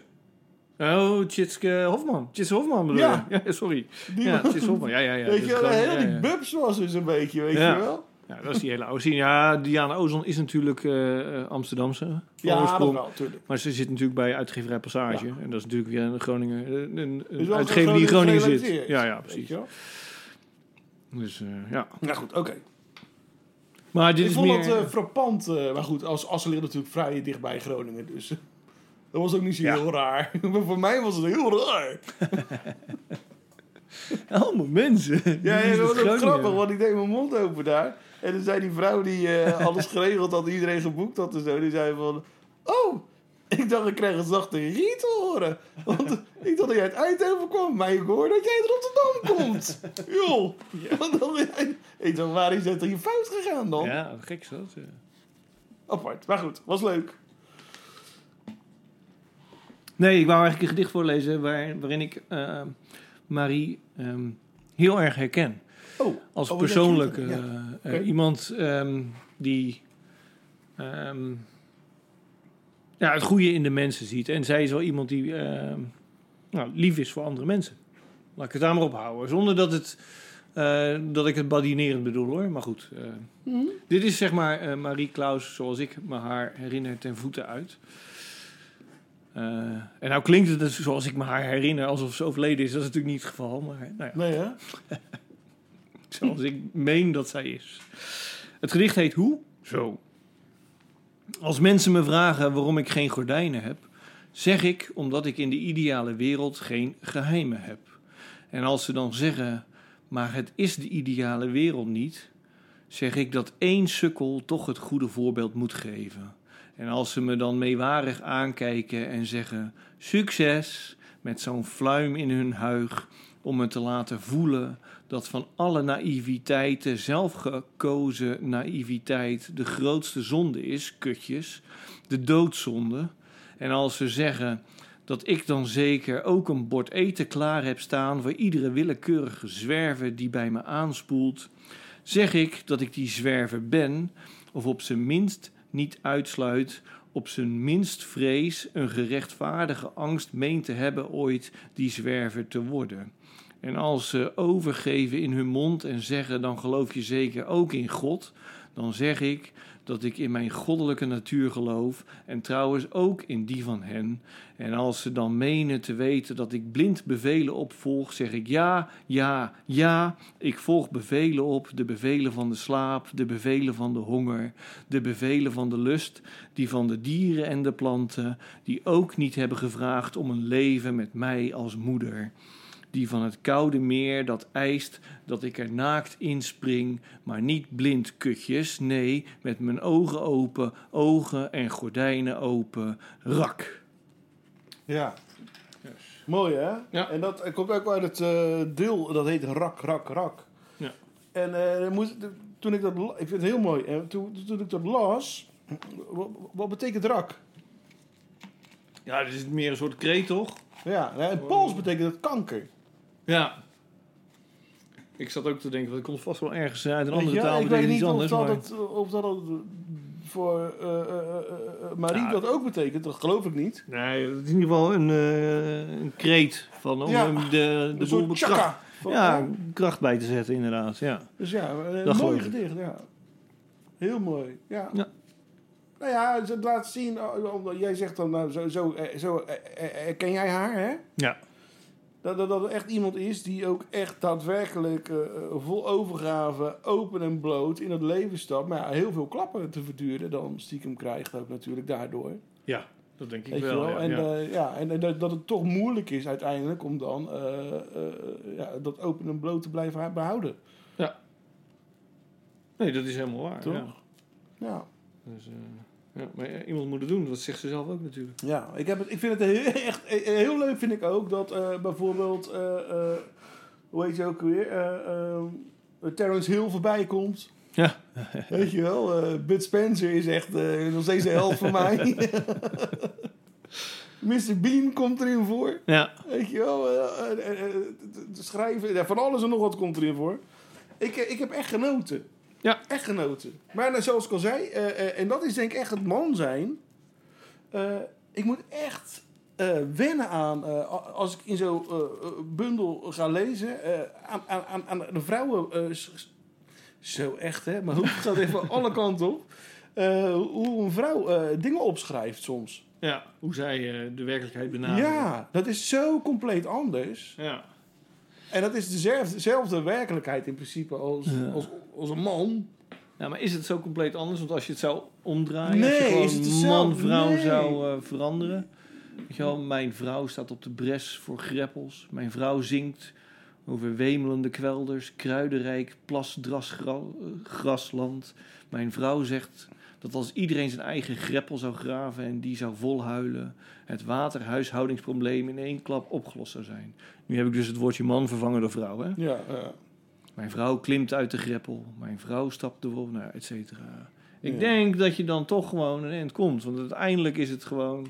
Speaker 6: Oh, Tjitske Hofman. Tjitske Hofman bedoel
Speaker 7: Ja.
Speaker 6: je? Ja, sorry.
Speaker 7: die
Speaker 6: Ja,
Speaker 7: man.
Speaker 6: Tjitske Hofman. Ja, ja, ja.
Speaker 7: weet
Speaker 6: Dat
Speaker 7: je
Speaker 6: is
Speaker 7: wel,
Speaker 6: gewoon-
Speaker 7: heel
Speaker 6: ja,
Speaker 7: die
Speaker 6: ja.
Speaker 7: bubs was dus een beetje, weet
Speaker 6: Ja.
Speaker 7: je wel.
Speaker 6: Ja, dat is die hele oude scene. Ja, Diana Ozon is natuurlijk eh, eh, Amsterdamse. van
Speaker 7: Ja, dat
Speaker 6: oorsprong.
Speaker 7: wel, natuurlijk.
Speaker 6: Maar ze zit natuurlijk bij uitgeverij Passage. En dat is natuurlijk weer een Groningen... Een, een- een
Speaker 7: Dus wel
Speaker 6: uitgever die in Groningen zit.
Speaker 7: gerelateerd,
Speaker 6: Ja, ja,
Speaker 7: weet
Speaker 6: precies.
Speaker 7: je wel.
Speaker 6: Dus eh, ja.
Speaker 7: Nou goed, oké.
Speaker 6: Maar dit
Speaker 7: Ik
Speaker 6: is
Speaker 7: vond
Speaker 6: meer...
Speaker 7: dat eh, frappant. eh, maar goed, als Assen ligt natuurlijk vrij dichtbij Groningen. Dus eh, dat was ook niet zo
Speaker 6: Ja.
Speaker 7: heel raar. maar voor mij was het heel raar.
Speaker 6: Allemaal mensen.
Speaker 7: eh, Ja, ja,
Speaker 6: Dit is dus
Speaker 7: dat was ook
Speaker 6: Groningen.
Speaker 7: grappig, want ik deed mijn mond open daar. En toen zei die vrouw die eh, alles geregeld had, iedereen geboekt had en zo. Die zei van, oh, ik dacht ik krijg een zachte riet te horen. Want ik dacht dat jij uit Eindhoven kwam, maar ik hoor dat jij uit Rotterdam komt. Joh. Want dan, ik dacht, waar is dat hier fout gegaan dan?
Speaker 6: Ja, wat gek is dat. eh. ja.
Speaker 7: Apart, maar goed, was leuk.
Speaker 6: Nee, ik wou eigenlijk een gedicht voorlezen waar, waarin ik eh, Marie ehm, heel erg herken.
Speaker 7: Oh,
Speaker 6: Als
Speaker 7: Oh, ja,
Speaker 6: persoonlijk
Speaker 7: tuurlijk,
Speaker 6: eh, eh,
Speaker 7: Oké.
Speaker 6: iemand ehm, die ehm, ja, het goede in de mensen ziet. En zij is wel iemand die ehm, nou, lief is voor andere mensen. Laat ik het daar maar op houden. Zonder dat, het, eh, dat ik het badinerend bedoel hoor. Maar goed. eh,
Speaker 7: Mhm.
Speaker 6: Dit is zeg maar eh, Marie Claus zoals ik me haar herinner ten voeten uit. Eh, en nou klinkt het dus zoals ik me haar herinner alsof ze overleden is. Dat is natuurlijk niet het geval. Maar nou ja
Speaker 7: nee hè?
Speaker 6: zoals ik meen dat zij is. Het gedicht heet Hoe? Zo. Als mensen me vragen waarom ik geen gordijnen heb, zeg ik omdat ik in de ideale wereld geen geheimen heb. En als ze dan zeggen, maar het is de ideale wereld niet, zeg ik dat één sukkel toch het goede voorbeeld moet geven. En als ze me dan meewarig aankijken en zeggen: succes, met zo'n fluim in hun huig, om me te laten voelen dat van alle naïviteiten, zelfgekozen naïviteit, de grootste zonde is, kutjes, de doodzonde. En als ze zeggen dat ik dan zeker ook een bord eten klaar heb staan voor iedere willekeurige zwerver die bij me aanspoelt, zeg ik dat ik die zwerver ben, of op zijn minst niet uitsluit, op zijn minst vrees een gerechtvaardige angst meent te hebben ooit die zwerver te worden. En als ze overgeven in hun mond en zeggen: dan geloof je zeker ook in God, dan zeg ik dat ik in mijn goddelijke natuur geloof en trouwens ook in die van hen. En als ze dan menen te weten dat ik blind bevelen opvolg, zeg ik ja, ja, ja, ik volg bevelen op, de bevelen van de slaap, de bevelen van de honger, de bevelen van de lust, die van de dieren en de planten, die ook niet hebben gevraagd om een leven met mij als moeder die van het koude meer dat eist dat ik er naakt inspring, maar niet blind kutjes, nee, met mijn ogen open, ogen en gordijnen open, rak.
Speaker 7: Ja. Mooi hè?
Speaker 6: Ja.
Speaker 7: En dat eh, komt ook uit het eh, deel, dat heet Rak, Rak, Rak.
Speaker 6: Ja.
Speaker 7: En eh, dan moest, toen ik dat, la- ik vind het heel mooi, en toen, toen ik dat las, wat, wat betekent rak?
Speaker 6: Ja, dit is meer een soort kreet, toch?
Speaker 7: Ja, hè, in Pools betekent het kanker.
Speaker 6: Ja. Ik zat ook te denken, dat komt vast wel ergens uit een andere
Speaker 7: Weet je,
Speaker 6: taal,
Speaker 7: ik weet
Speaker 6: betekent iets anders.
Speaker 7: niet of dat,
Speaker 6: Maar...
Speaker 7: het, of dat het voor eh, eh, eh, eh, Marie
Speaker 6: Ja.
Speaker 7: dat ook betekent, dat geloof ik niet.
Speaker 6: Nee, het is in ieder geval een, eh, een kreet van om
Speaker 7: Ja,
Speaker 6: hem de, de
Speaker 7: Een
Speaker 6: boel
Speaker 7: soort
Speaker 6: bekracht.
Speaker 7: chakka. Van-
Speaker 6: Ja, kracht bij te zetten inderdaad. Ja.
Speaker 7: Dus ja,
Speaker 6: Dat
Speaker 7: een mooi
Speaker 6: geloof ik.
Speaker 7: gedicht. Ja. Heel mooi. Ja.
Speaker 6: Ja.
Speaker 7: Nou ja, het laat zien. oh, omdat Jij zegt dan, nou, zo, zo, eh, zo ken jij haar, hè?
Speaker 6: ja.
Speaker 7: Dat, dat, dat er echt iemand is die ook echt daadwerkelijk eh, eh, vol overgave, open en bloot in het leven stapt. Maar ja, heel veel klappen te verduren dan stiekem krijgt ook natuurlijk daardoor.
Speaker 6: Ja, dat denk ik
Speaker 7: Weet je
Speaker 6: wel.
Speaker 7: wel?
Speaker 6: ja,
Speaker 7: en
Speaker 6: ja.
Speaker 7: eh, ja, en, en dat, dat het toch moeilijk is uiteindelijk om dan eh, eh, ja, dat open en bloot te blijven ha- behouden.
Speaker 6: Nee, dat is helemaal waar.
Speaker 7: Toch?
Speaker 6: Ja.
Speaker 7: Ja.
Speaker 6: Dus, eh, ja, maar ja, iemand moet het doen, dat zegt ze zelf ook natuurlijk.
Speaker 7: Ja, ik, heb het, ik vind het heel, echt eh, heel leuk, vind ik ook, dat eh, bijvoorbeeld, eh, eh, hoe heet je ook weer, eh, ehm, Terrence Hill voorbij komt.
Speaker 6: Ja.
Speaker 7: Weet je wel, eh Bud Spencer is echt eh, nog steeds de helft van mij. Mr. Bean komt erin voor.
Speaker 6: Ja,
Speaker 7: Weet je wel, eh, eh, eh, eh, t- t- schrijven, ja, van alles en nog wat komt erin voor. Ik, eh, ik heb echt genoten.
Speaker 6: Ja.
Speaker 7: Echt genoten. Maar nou, zoals ik al zei, eh, eh, en dat is denk ik echt het man zijn. Eh, ik moet echt eh, wennen aan, eh, a- als ik in zo'n eh, eh, bundel ga lezen, eh, aan, aan, aan, aan de vrouwen. eh, s- s- zo echt, hè? Maar hoe gaat even alle kanten op? Eh, hoe een vrouw eh, dingen opschrijft soms.
Speaker 6: ja. hoe zij eh, de werkelijkheid benaderen.
Speaker 7: Ja, dat is zo compleet anders.
Speaker 6: Ja.
Speaker 7: En dat is dezelfde, dezelfde werkelijkheid in principe als,
Speaker 6: Ja.
Speaker 7: als, als een man.
Speaker 6: Ja, maar is het zo compleet anders? Want als je het zou omdraaien,
Speaker 7: Nee,
Speaker 6: als je
Speaker 7: is het
Speaker 6: gewoon
Speaker 7: hetzelfde?
Speaker 6: man, vrouw
Speaker 7: Nee.
Speaker 6: zou eh, veranderen. Weet je wel, mijn vrouw staat op de bres voor greppels. Mijn vrouw zingt over wemelende kwelders, kruidenrijk, plasdrasgrasland. Mijn vrouw zegt dat als iedereen zijn eigen greppel zou graven en die zou volhuilen, het waterhuishoudingsprobleem in één klap opgelost zou zijn. Nu heb ik dus het woordje man vervangen door vrouw, hè?
Speaker 7: Ja, ja.
Speaker 6: Mijn vrouw klimt uit de greppel. Mijn vrouw stapt de wolf naar, et cetera. Ik
Speaker 7: Ja.
Speaker 6: denk dat je dan toch gewoon een eind komt. Want uiteindelijk is het gewoon...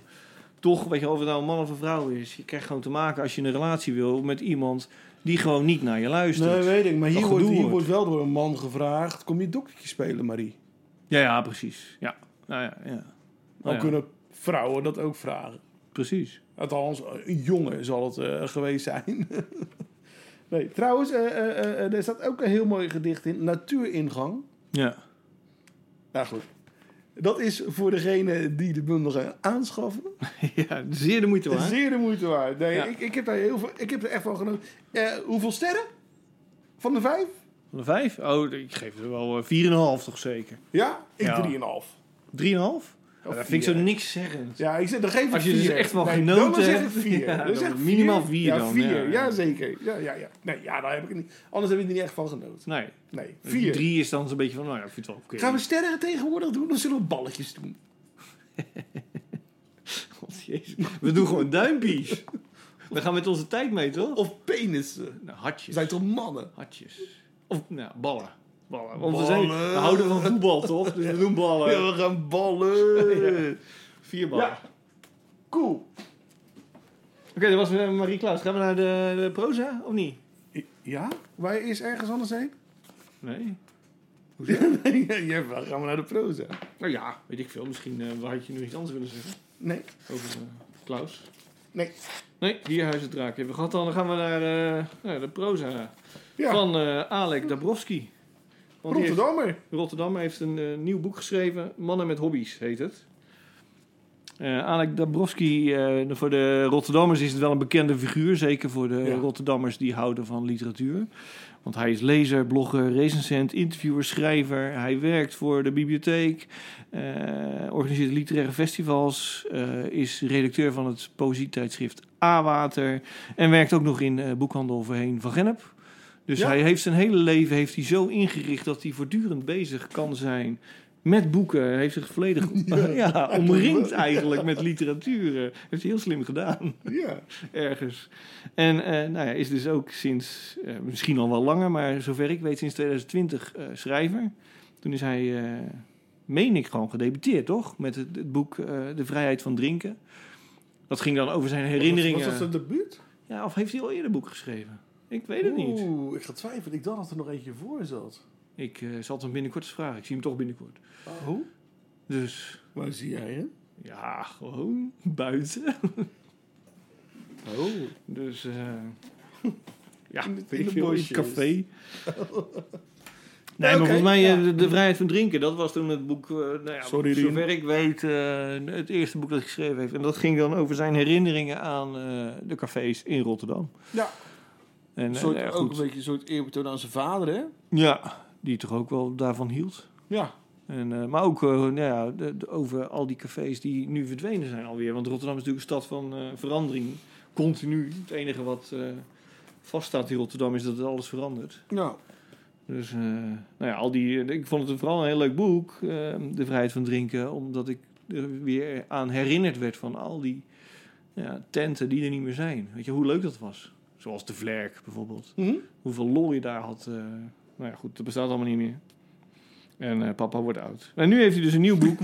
Speaker 6: Toch, weet je, of het nou een man of een vrouw is. Je krijgt gewoon te maken als je een relatie wil met iemand... die gewoon niet naar je luistert.
Speaker 7: Nee, weet ik. Maar hier,
Speaker 6: Dat
Speaker 7: wordt,
Speaker 6: gedoe
Speaker 7: hier
Speaker 6: wordt.
Speaker 7: wordt wel door een man gevraagd... kom je doktertje spelen, Marie?
Speaker 6: Ja, ja, precies. Ja, nou ja, ja.
Speaker 7: Dan
Speaker 6: Nou ja,
Speaker 7: kunnen vrouwen dat ook vragen.
Speaker 6: Precies.
Speaker 7: Althans, een jongen zal het eh, geweest zijn. nee, trouwens, eh, eh, eh, er staat ook een heel mooi gedicht in. Natuuringang.
Speaker 6: Ja.
Speaker 7: Nou goed. Dat is voor degene die de bundel gaan aanschaffen.
Speaker 6: ja, zeer de moeite waard.
Speaker 7: Zeer de moeite waard. Nee,
Speaker 6: Ja.
Speaker 7: ik, ik, heb daar heel veel, ik heb er echt van genoten. Eh, hoeveel sterren? Van de vijf?
Speaker 6: Van de vijf? Oh, ik geef er wel eh, 4,5 toch zeker. 3,5?
Speaker 7: Ja, ik
Speaker 6: Ja.
Speaker 7: 3,5.
Speaker 6: Ja, dat vind ik zo niks zeggen.
Speaker 7: Ja, ik zeg, dan geef ik
Speaker 6: Als je dus
Speaker 7: vier.
Speaker 6: echt wel
Speaker 7: nee,
Speaker 6: genoten
Speaker 7: Dan zeg ik
Speaker 6: hebt.
Speaker 7: vier.
Speaker 6: Ja,
Speaker 7: dan
Speaker 6: dan
Speaker 7: zeg ik
Speaker 6: minimaal vier
Speaker 7: Ja,
Speaker 6: dan,
Speaker 7: vier.
Speaker 6: ja.
Speaker 7: Ja, zeker. Ja, ja, ja. Nee, ja, daar heb ik het niet. Anders heb ik er niet echt van genoten.
Speaker 6: Nee.
Speaker 7: Nee, vier.
Speaker 6: Vier. Drie is dan zo'n beetje van, nou ja, ik vind het wel oké.
Speaker 7: Gaan we sterren tegenwoordig doen of zullen we balletjes doen?
Speaker 6: God, jezus. We doen gewoon duimpjes. We gaan met onze tijd mee, toch?
Speaker 7: Of penissen?
Speaker 6: Nou,
Speaker 7: We
Speaker 6: hartjes.
Speaker 7: zijn toch mannen?
Speaker 6: Hartjes. Of, nou, ballen. Ballen. Want We, zijn, we houden van voetbal, toch? Dus we doen ballen.
Speaker 7: Ja, we gaan ballen.
Speaker 6: Vier ballen.
Speaker 7: Ja. Cool.
Speaker 6: Oké, dat was eh, Marie Klaas. Gaan we naar de, de proza, of niet?
Speaker 7: Ja? Waar is ergens anders heen?
Speaker 6: Nee.
Speaker 7: ja, we gaan we naar de proza.
Speaker 6: Nou ja, weet ik veel. Misschien eh, had je nu iets anders willen zeggen
Speaker 7: Nee.
Speaker 6: over eh, Klaus.
Speaker 7: Nee.
Speaker 6: Nee, hier Huizen het Draak hebben we gehad al. Dan gaan we naar eh, naar de proza
Speaker 7: Ja.
Speaker 6: van eh, Alek Dabrowski. Want die heeft-
Speaker 7: Rotterdammer.
Speaker 6: Rotterdam heeft een eh, nieuw boek geschreven. Mannen met hobby's heet het. Eh Alek Dabrowski, eh, voor de Rotterdammers is het wel een bekende figuur. Zeker voor de
Speaker 7: Ja.
Speaker 6: Rotterdammers die houden van literatuur. Want hij is lezer, blogger, recensent, interviewer, schrijver. Hij werkt voor de bibliotheek, eh, organiseert literaire festivals, eh, is redacteur van het poëzietijdschrift A-Water en werkt ook nog in eh, boekhandel voorheen van Gennep. Dus
Speaker 7: Ja.
Speaker 6: hij heeft zijn hele leven heeft hij zo ingericht dat hij voortdurend bezig kan zijn met boeken. Hij heeft zich volledig ja. omringd eigenlijk met literatuur. Eh, Heeft hij heel slim gedaan
Speaker 7: Ja.
Speaker 6: ergens. En eh, nou ja, is dus ook sinds, eh, misschien al wel langer, maar zover ik weet, sinds 2020 eh, schrijver. Toen is hij, eh, meen ik gewoon, gedebuteerd, toch? Met het, het boek eh, De Vrijheid van Drinken. Dat ging dan over zijn herinneringen.
Speaker 7: Was dat zijn debuut?
Speaker 6: Ja, of heeft hij al eerder boek geschreven? Ik weet het niet.
Speaker 7: Oeh, ik ga twijfelen. Ik dacht dat er nog eentje voor zat.
Speaker 6: Ik eh, zal het hem binnenkort eens vragen. Ik zie hem toch binnenkort.
Speaker 7: Oh?
Speaker 6: Dus
Speaker 7: Waar zie jij hem?
Speaker 6: ja, gewoon buiten.
Speaker 7: Oh.
Speaker 6: Dus eh, Ja,
Speaker 7: in, het-
Speaker 5: weet
Speaker 7: in
Speaker 5: ik
Speaker 7: een
Speaker 5: veel,
Speaker 7: mooi
Speaker 5: als je-
Speaker 7: café.
Speaker 6: Nee, maar
Speaker 7: Oké,
Speaker 6: volgens mij eh,
Speaker 7: ja.
Speaker 6: de, de vrijheid van drinken, dat was toen het boek, eh, nou ja,
Speaker 7: Sorry, Rien.
Speaker 6: zover ik weet, eh, het eerste boek dat hij geschreven heeft. En dat ging dan over zijn herinneringen aan eh, de cafés in Rotterdam.
Speaker 7: Ja.
Speaker 6: En,
Speaker 7: Een
Speaker 6: eh,
Speaker 7: soort,
Speaker 6: nou ja,
Speaker 7: ook
Speaker 6: goed.
Speaker 7: een beetje een soort eerbetoon aan zijn vader, hè?
Speaker 6: Ja, die toch ook wel daarvan hield.
Speaker 7: Ja.
Speaker 6: En, eh, maar ook eh, nou ja, de- de- over al die cafés die nu verdwenen zijn alweer. Want Rotterdam is natuurlijk een stad van eh, verandering. Continu. Het enige wat eh, vaststaat in Rotterdam is dat alles verandert.
Speaker 7: Nou,
Speaker 6: Dus eh, nou ja, al die, ik vond het vooral een heel leuk boek, eh, De Vrijheid van Drinken, omdat ik er weer aan herinnerd werd van al die ja, tenten die er niet meer zijn. Weet je, hoe leuk dat was. Zoals de Vlerk bijvoorbeeld.
Speaker 7: Mhm.
Speaker 6: Hoeveel lol je daar had. eh, nou ja, goed, dat bestaat allemaal niet meer. En eh, papa wordt oud. En nu heeft hij dus een nieuw boek.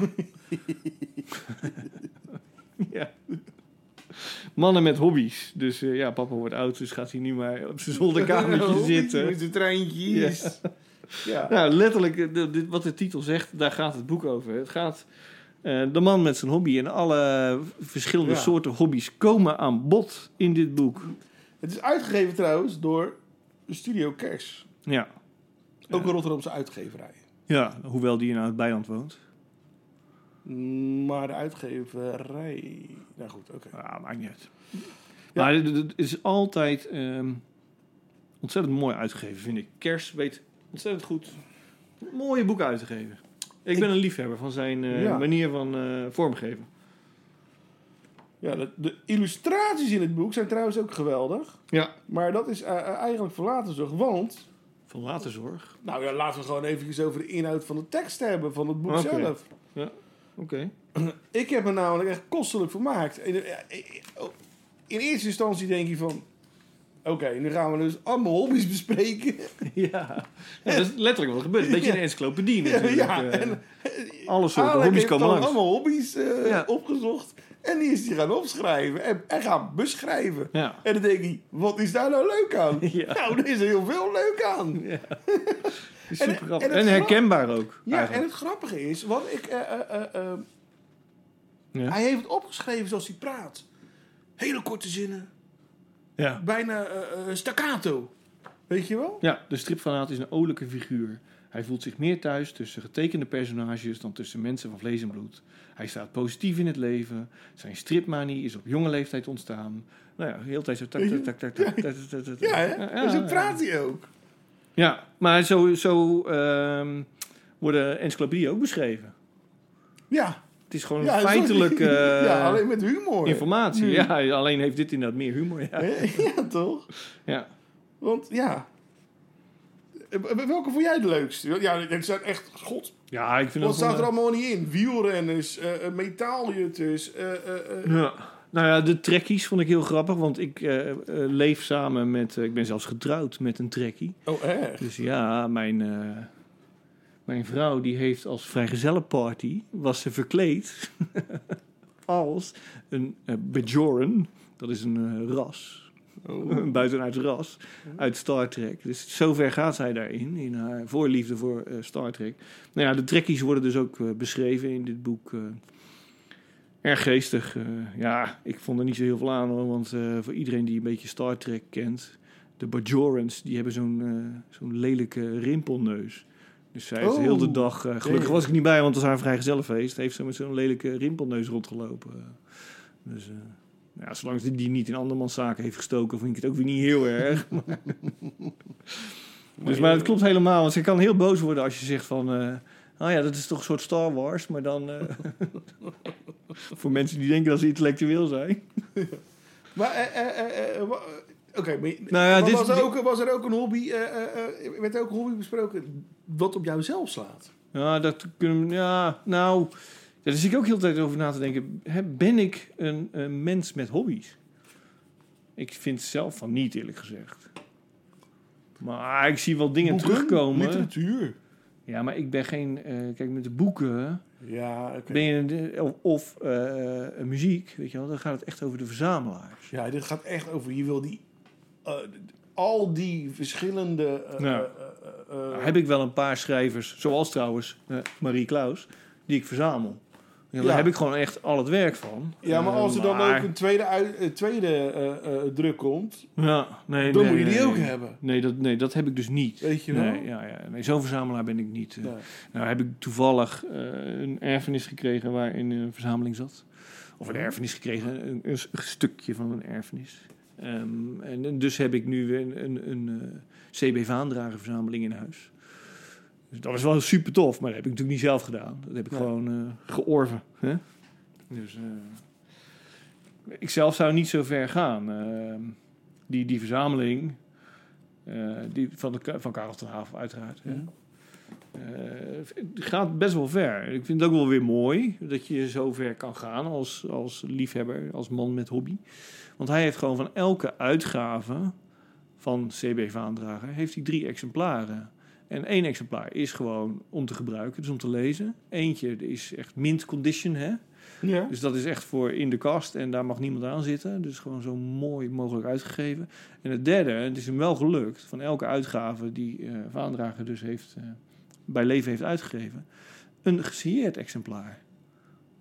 Speaker 6: ja. Mannen met hobby's. Dus eh, ja, papa wordt oud, dus gaat hij nu maar op zijn zolderkamertje
Speaker 7: Oh,
Speaker 6: zitten.
Speaker 7: Met de treintjes. Ja.
Speaker 6: Ja, letterlijk, eh, de- dit- wat de titel zegt, daar gaat het boek over. Het gaat eh, de man met zijn hobby en alle verschillende
Speaker 7: Ja.
Speaker 6: soorten hobby's komen aan bod in dit boek.
Speaker 7: Het is uitgegeven trouwens door Studio Kers.
Speaker 6: Ja,
Speaker 7: Ook een Rotterdamse uitgeverij.
Speaker 6: ja hoewel die in het bijland woont.
Speaker 7: Mm, Maar de uitgeverij... Nou goed, oké.
Speaker 6: Ja, maakt niet uit. Maar het- het is altijd ehm, ontzettend mooi uitgegeven, vind ik. Kers weet ontzettend goed mooie boeken uit te geven. Ik ben een liefhebber van zijn eh,
Speaker 7: Ja.
Speaker 6: manier van eh, vormgeven.
Speaker 7: Ja, de, de illustraties in het boek zijn trouwens ook geweldig.
Speaker 6: Ja.
Speaker 7: Maar dat is eh, eh, eigenlijk voor later zorg. Want,
Speaker 6: Van later zorg.
Speaker 7: nou ja, laten we gewoon even over de inhoud van de tekst hebben van het boek
Speaker 6: Oké.
Speaker 7: zelf.
Speaker 6: Oké.
Speaker 7: Ik heb me namelijk echt kostelijk vermaakt. In, oh, in eerste instantie denk je van... Oké, nu gaan we dus allemaal hobby's bespreken.
Speaker 6: Ja. ja, dat is letterlijk wat er gebeurt. Een beetje
Speaker 7: Ja.
Speaker 6: een encyclopedie
Speaker 7: Ja,
Speaker 6: natuurlijk.
Speaker 7: ja,
Speaker 6: Eh,
Speaker 7: en-
Speaker 6: alle soorten
Speaker 7: Alec
Speaker 6: hobby's
Speaker 7: heeft
Speaker 6: komen
Speaker 7: dan
Speaker 6: langs.
Speaker 7: allemaal hobby's eh,
Speaker 6: Ja.
Speaker 7: opgezocht. En die is die gaan opschrijven. En, en gaan beschrijven.
Speaker 6: Ja.
Speaker 7: En dan denk ik, wat is daar nou leuk aan?
Speaker 6: Ja.
Speaker 7: Nou, er is er heel veel leuk aan.
Speaker 6: Super grappig. En,
Speaker 7: en het grap-
Speaker 6: herkenbaar ook.
Speaker 7: Ja, en
Speaker 6: eigenlijk.
Speaker 7: het grappige is, want ik, eh, eh, eh, eh,
Speaker 6: Ja.
Speaker 7: hij heeft het opgeschreven zoals hij praat. Hele korte zinnen,
Speaker 6: ja.
Speaker 7: bijna eh, eh, staccato. Weet je wel?
Speaker 6: ja, de stripfanaat is een olijke figuur. Hij voelt zich meer thuis tussen getekende personages dan tussen mensen van vlees en bloed. Hij staat positief in het leven. Zijn stripmanie is op jonge leeftijd ontstaan. Nou ja, heel de tijd zo tak, tak, tak, tak, tak, tak, tak, tak, tak.
Speaker 7: Ja, hè? en zo praat hij ook.
Speaker 6: Ja, maar zo, zo ehm, worden encyclopedieën ook beschreven.
Speaker 7: Ja,
Speaker 6: Het is gewoon
Speaker 7: ja sorry.
Speaker 6: feitelijk... eh,
Speaker 7: ja, alleen met humor.
Speaker 6: Informatie, ja. Alleen heeft dit inderdaad meer humor, ja.
Speaker 7: Hmm. ja, toch?
Speaker 6: ja.
Speaker 7: Want ja. Eh, Welke vond jij de leukste? Ja, er staat echt. God,
Speaker 6: Ja, ik vind
Speaker 7: wat
Speaker 6: dat... wel-
Speaker 7: staat er allemaal niet in? Wielrenners, eh eh, metaaljutters. eh, eh, eh.
Speaker 6: Ja. Nou ja, de trekkies vond ik heel grappig, want ik eh, eh, leef samen met... eh, ik ben zelfs getrouwd met een trekkie.
Speaker 7: Oh, echt?
Speaker 6: Dus ja, mijn, eh, mijn vrouw die heeft als vrijgezellenparty... was ze verkleed als een eh, Bajoran. Dat is een eh, ras.
Speaker 7: Oh.
Speaker 6: Een buitenaards ras uit Star Trek. Dus zover gaat zij daarin, in haar voorliefde voor eh, Star Trek. Nou ja, de trekkies worden dus ook eh, beschreven in dit boek. eh, erg geestig. eh, ja, ik vond er niet zo heel veel aan hoor, want eh, voor iedereen die een beetje Star Trek kent... De Bajorans, die hebben zo'n eh, zo'n lelijke rimpelneus. Dus zij heeft
Speaker 7: Oh.
Speaker 6: heel de dag... eh, gelukkig
Speaker 7: Jee.
Speaker 6: was ik niet bij, want het was haar vrijgezellenfeest. Heeft ze met zo'n lelijke rimpelneus rondgelopen. eh. Dus... eh, ja, zolang ze die niet in andermans zaken heeft gestoken, vind ik het ook weer niet heel erg. Maar- dus, maar het klopt helemaal. Want ze kan heel boos worden als je zegt van... eh nou ja, dat is toch een soort Star Wars, maar dan... eh, voor mensen die denken dat ze intellectueel zijn.
Speaker 7: Maar, eh, eh, eh, eh, wa- eh, oké, maar je-
Speaker 6: Nou ja,
Speaker 7: maar
Speaker 6: dit-
Speaker 7: was, er
Speaker 6: dit-
Speaker 7: ook, was er ook een hobby, eh, eh, eh, werd er ook een hobby besproken wat op jou zelf slaat?
Speaker 6: Ja, dat kunnen we- Ja, nou... Daar zit ik ook heel de tijd over na te denken. Hè, ben ik een, een mens met hobby's? Ik vind zelf van niet, eerlijk gezegd. Maar ik zie wel dingen
Speaker 7: Boeken,
Speaker 6: terugkomen.
Speaker 7: Literatuur.
Speaker 6: Ja, maar ik ben geen... eh, kijk, met de boeken...
Speaker 7: Ja, oké.
Speaker 6: Ben je een- of of eh, een muziek, weet je wel, dan gaat het echt over de verzamelaars.
Speaker 7: Ja, dit gaat echt over, je wil die, eh, al die verschillende... eh,
Speaker 6: Ja.
Speaker 7: eh, eh, eh,
Speaker 6: Nou, heb ik wel een paar schrijvers, zoals trouwens eh, Marie Klaus, die ik verzamel. Ja, daar
Speaker 7: Ja.
Speaker 6: heb ik gewoon echt al het werk van.
Speaker 7: Ja, maar
Speaker 6: Eh,
Speaker 7: als er dan
Speaker 6: maar-
Speaker 7: ook een tweede, uit- eh, tweede eh, eh, druk komt,
Speaker 6: Ja, nee,
Speaker 7: dan
Speaker 6: nee,
Speaker 7: moet je die
Speaker 6: nee,
Speaker 7: ook
Speaker 6: nee.
Speaker 7: hebben.
Speaker 6: Nee dat, nee, dat heb ik dus niet.
Speaker 7: Weet je wel?
Speaker 6: Nee, ja, ja, nee zo'n verzamelaar ben ik niet. eh.
Speaker 7: Nee.
Speaker 6: Nou heb ik toevallig eh, een erfenis gekregen waarin een verzameling zat. Of een erfenis gekregen, een, een s- een stukje van een erfenis. Ehm, en, en dus heb ik nu weer een, een, een eh, CB Vaandragerverzameling in huis. Dus dat was wel super tof, maar dat heb ik natuurlijk niet zelf gedaan. Dat heb ik
Speaker 7: Nee.
Speaker 6: gewoon eh, georven. Hè? Dus eh, ik zelf zou niet zo ver gaan. Ehm, die, die verzameling eh, die van, de, Ka- van Karel ten Havel uiteraard. Hè? Eh, het gaat best wel ver. Ik vind het ook wel weer mooi dat je zo ver kan gaan als, als liefhebber, als man met hobby. Want hij heeft gewoon van elke uitgave van CB Vaandrager heeft hij drie exemplaren. En één exemplaar is gewoon om te gebruiken, dus om te lezen. Eentje is echt mint condition, hè?
Speaker 7: Ja.
Speaker 6: Dus dat is echt voor in de kast en daar mag niemand aan zitten. Dus gewoon zo mooi mogelijk uitgegeven. En het derde, het is hem wel gelukt, van elke uitgave die eh Vaandrager dus heeft, eh, bij leven heeft uitgegeven, een gesigneerd exemplaar.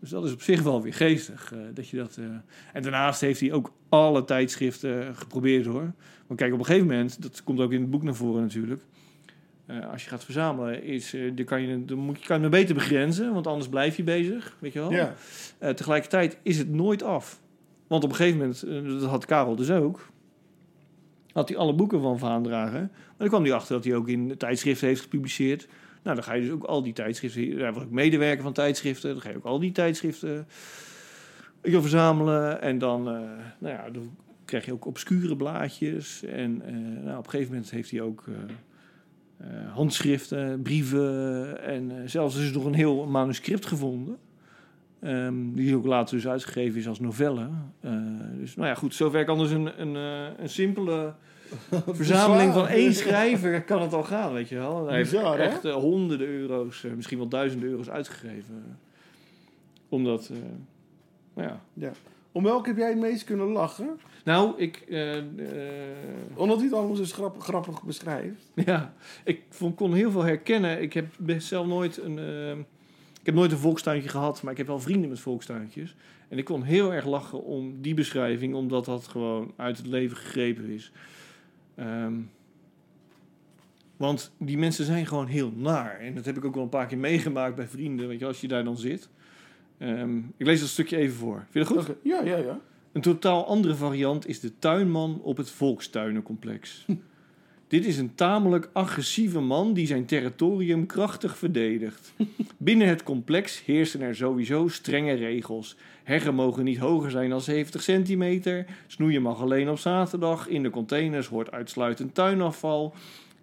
Speaker 6: Dus dat is op zich wel weer geestig. eh, dat je dat, eh, En daarnaast heeft hij ook alle tijdschriften geprobeerd hoor. Want kijk, op een gegeven moment, dat komt ook in het boek naar voren natuurlijk. eh, als je gaat verzamelen, is, eh, dan, kan je, dan moet je, kan je het maar beter begrenzen, want anders blijf je bezig. Weet je wel?
Speaker 7: ja.
Speaker 6: Eh, tegelijkertijd is het nooit af. Want op een gegeven moment, eh, dat had Karel dus ook, had hij alle boeken van Vaandragen. Maar dan kwam hij achter dat hij ook in tijdschriften heeft gepubliceerd. Nou, dan ga je dus ook al die tijdschriften... Hij was ook medewerker van tijdschriften. Dan ga je ook al die tijdschriften weet je wel, verzamelen. En dan, eh, nou ja, dan krijg je ook obscure blaadjes. En eh, nou, op een gegeven moment heeft hij ook... eh, eh, handschriften, brieven en eh, zelfs is er nog een heel manuscript gevonden. Ehm, die ook later dus uitgegeven is als novelle. Eh, dus nou ja, goed, zover kan dus een, een, eh, een simpele verzameling van één schrijver kan het al gaan, weet je wel. Hij heeft
Speaker 7: Bizar, hè?
Speaker 6: echt eh, honderden euro's, eh, misschien wel duizenden euro's uitgegeven. Omdat, eh, nou ja.
Speaker 7: Om welke heb jij het meest kunnen lachen?
Speaker 6: Nou, ik, eh, eh,
Speaker 7: Omdat hij het allemaal zo grappig, grappig beschrijft.
Speaker 6: ja, ik vond, kon heel veel herkennen. Ik heb best zelf nooit een... eh, ik heb nooit een volkstuintje gehad, maar ik heb wel vrienden met volkstuintjes. En ik kon heel erg lachen om die beschrijving, omdat dat gewoon uit het leven gegrepen is. Ehm, want die mensen zijn gewoon heel naar. En dat heb ik ook wel een paar keer meegemaakt bij vrienden, weet je, als je daar dan zit. Ehm, ik lees dat stukje even voor. Vind je dat goed?
Speaker 7: Oké, Ja, ja, ja.
Speaker 6: Een totaal andere variant is de tuinman op het volkstuinencomplex. Dit is een tamelijk agressieve man die zijn territorium krachtig verdedigt. Binnen het complex heersen er sowieso strenge regels. Heggen mogen niet hoger zijn dan 70 centimeter. Snoeien mag alleen op zaterdag. In de containers hoort uitsluitend tuinafval.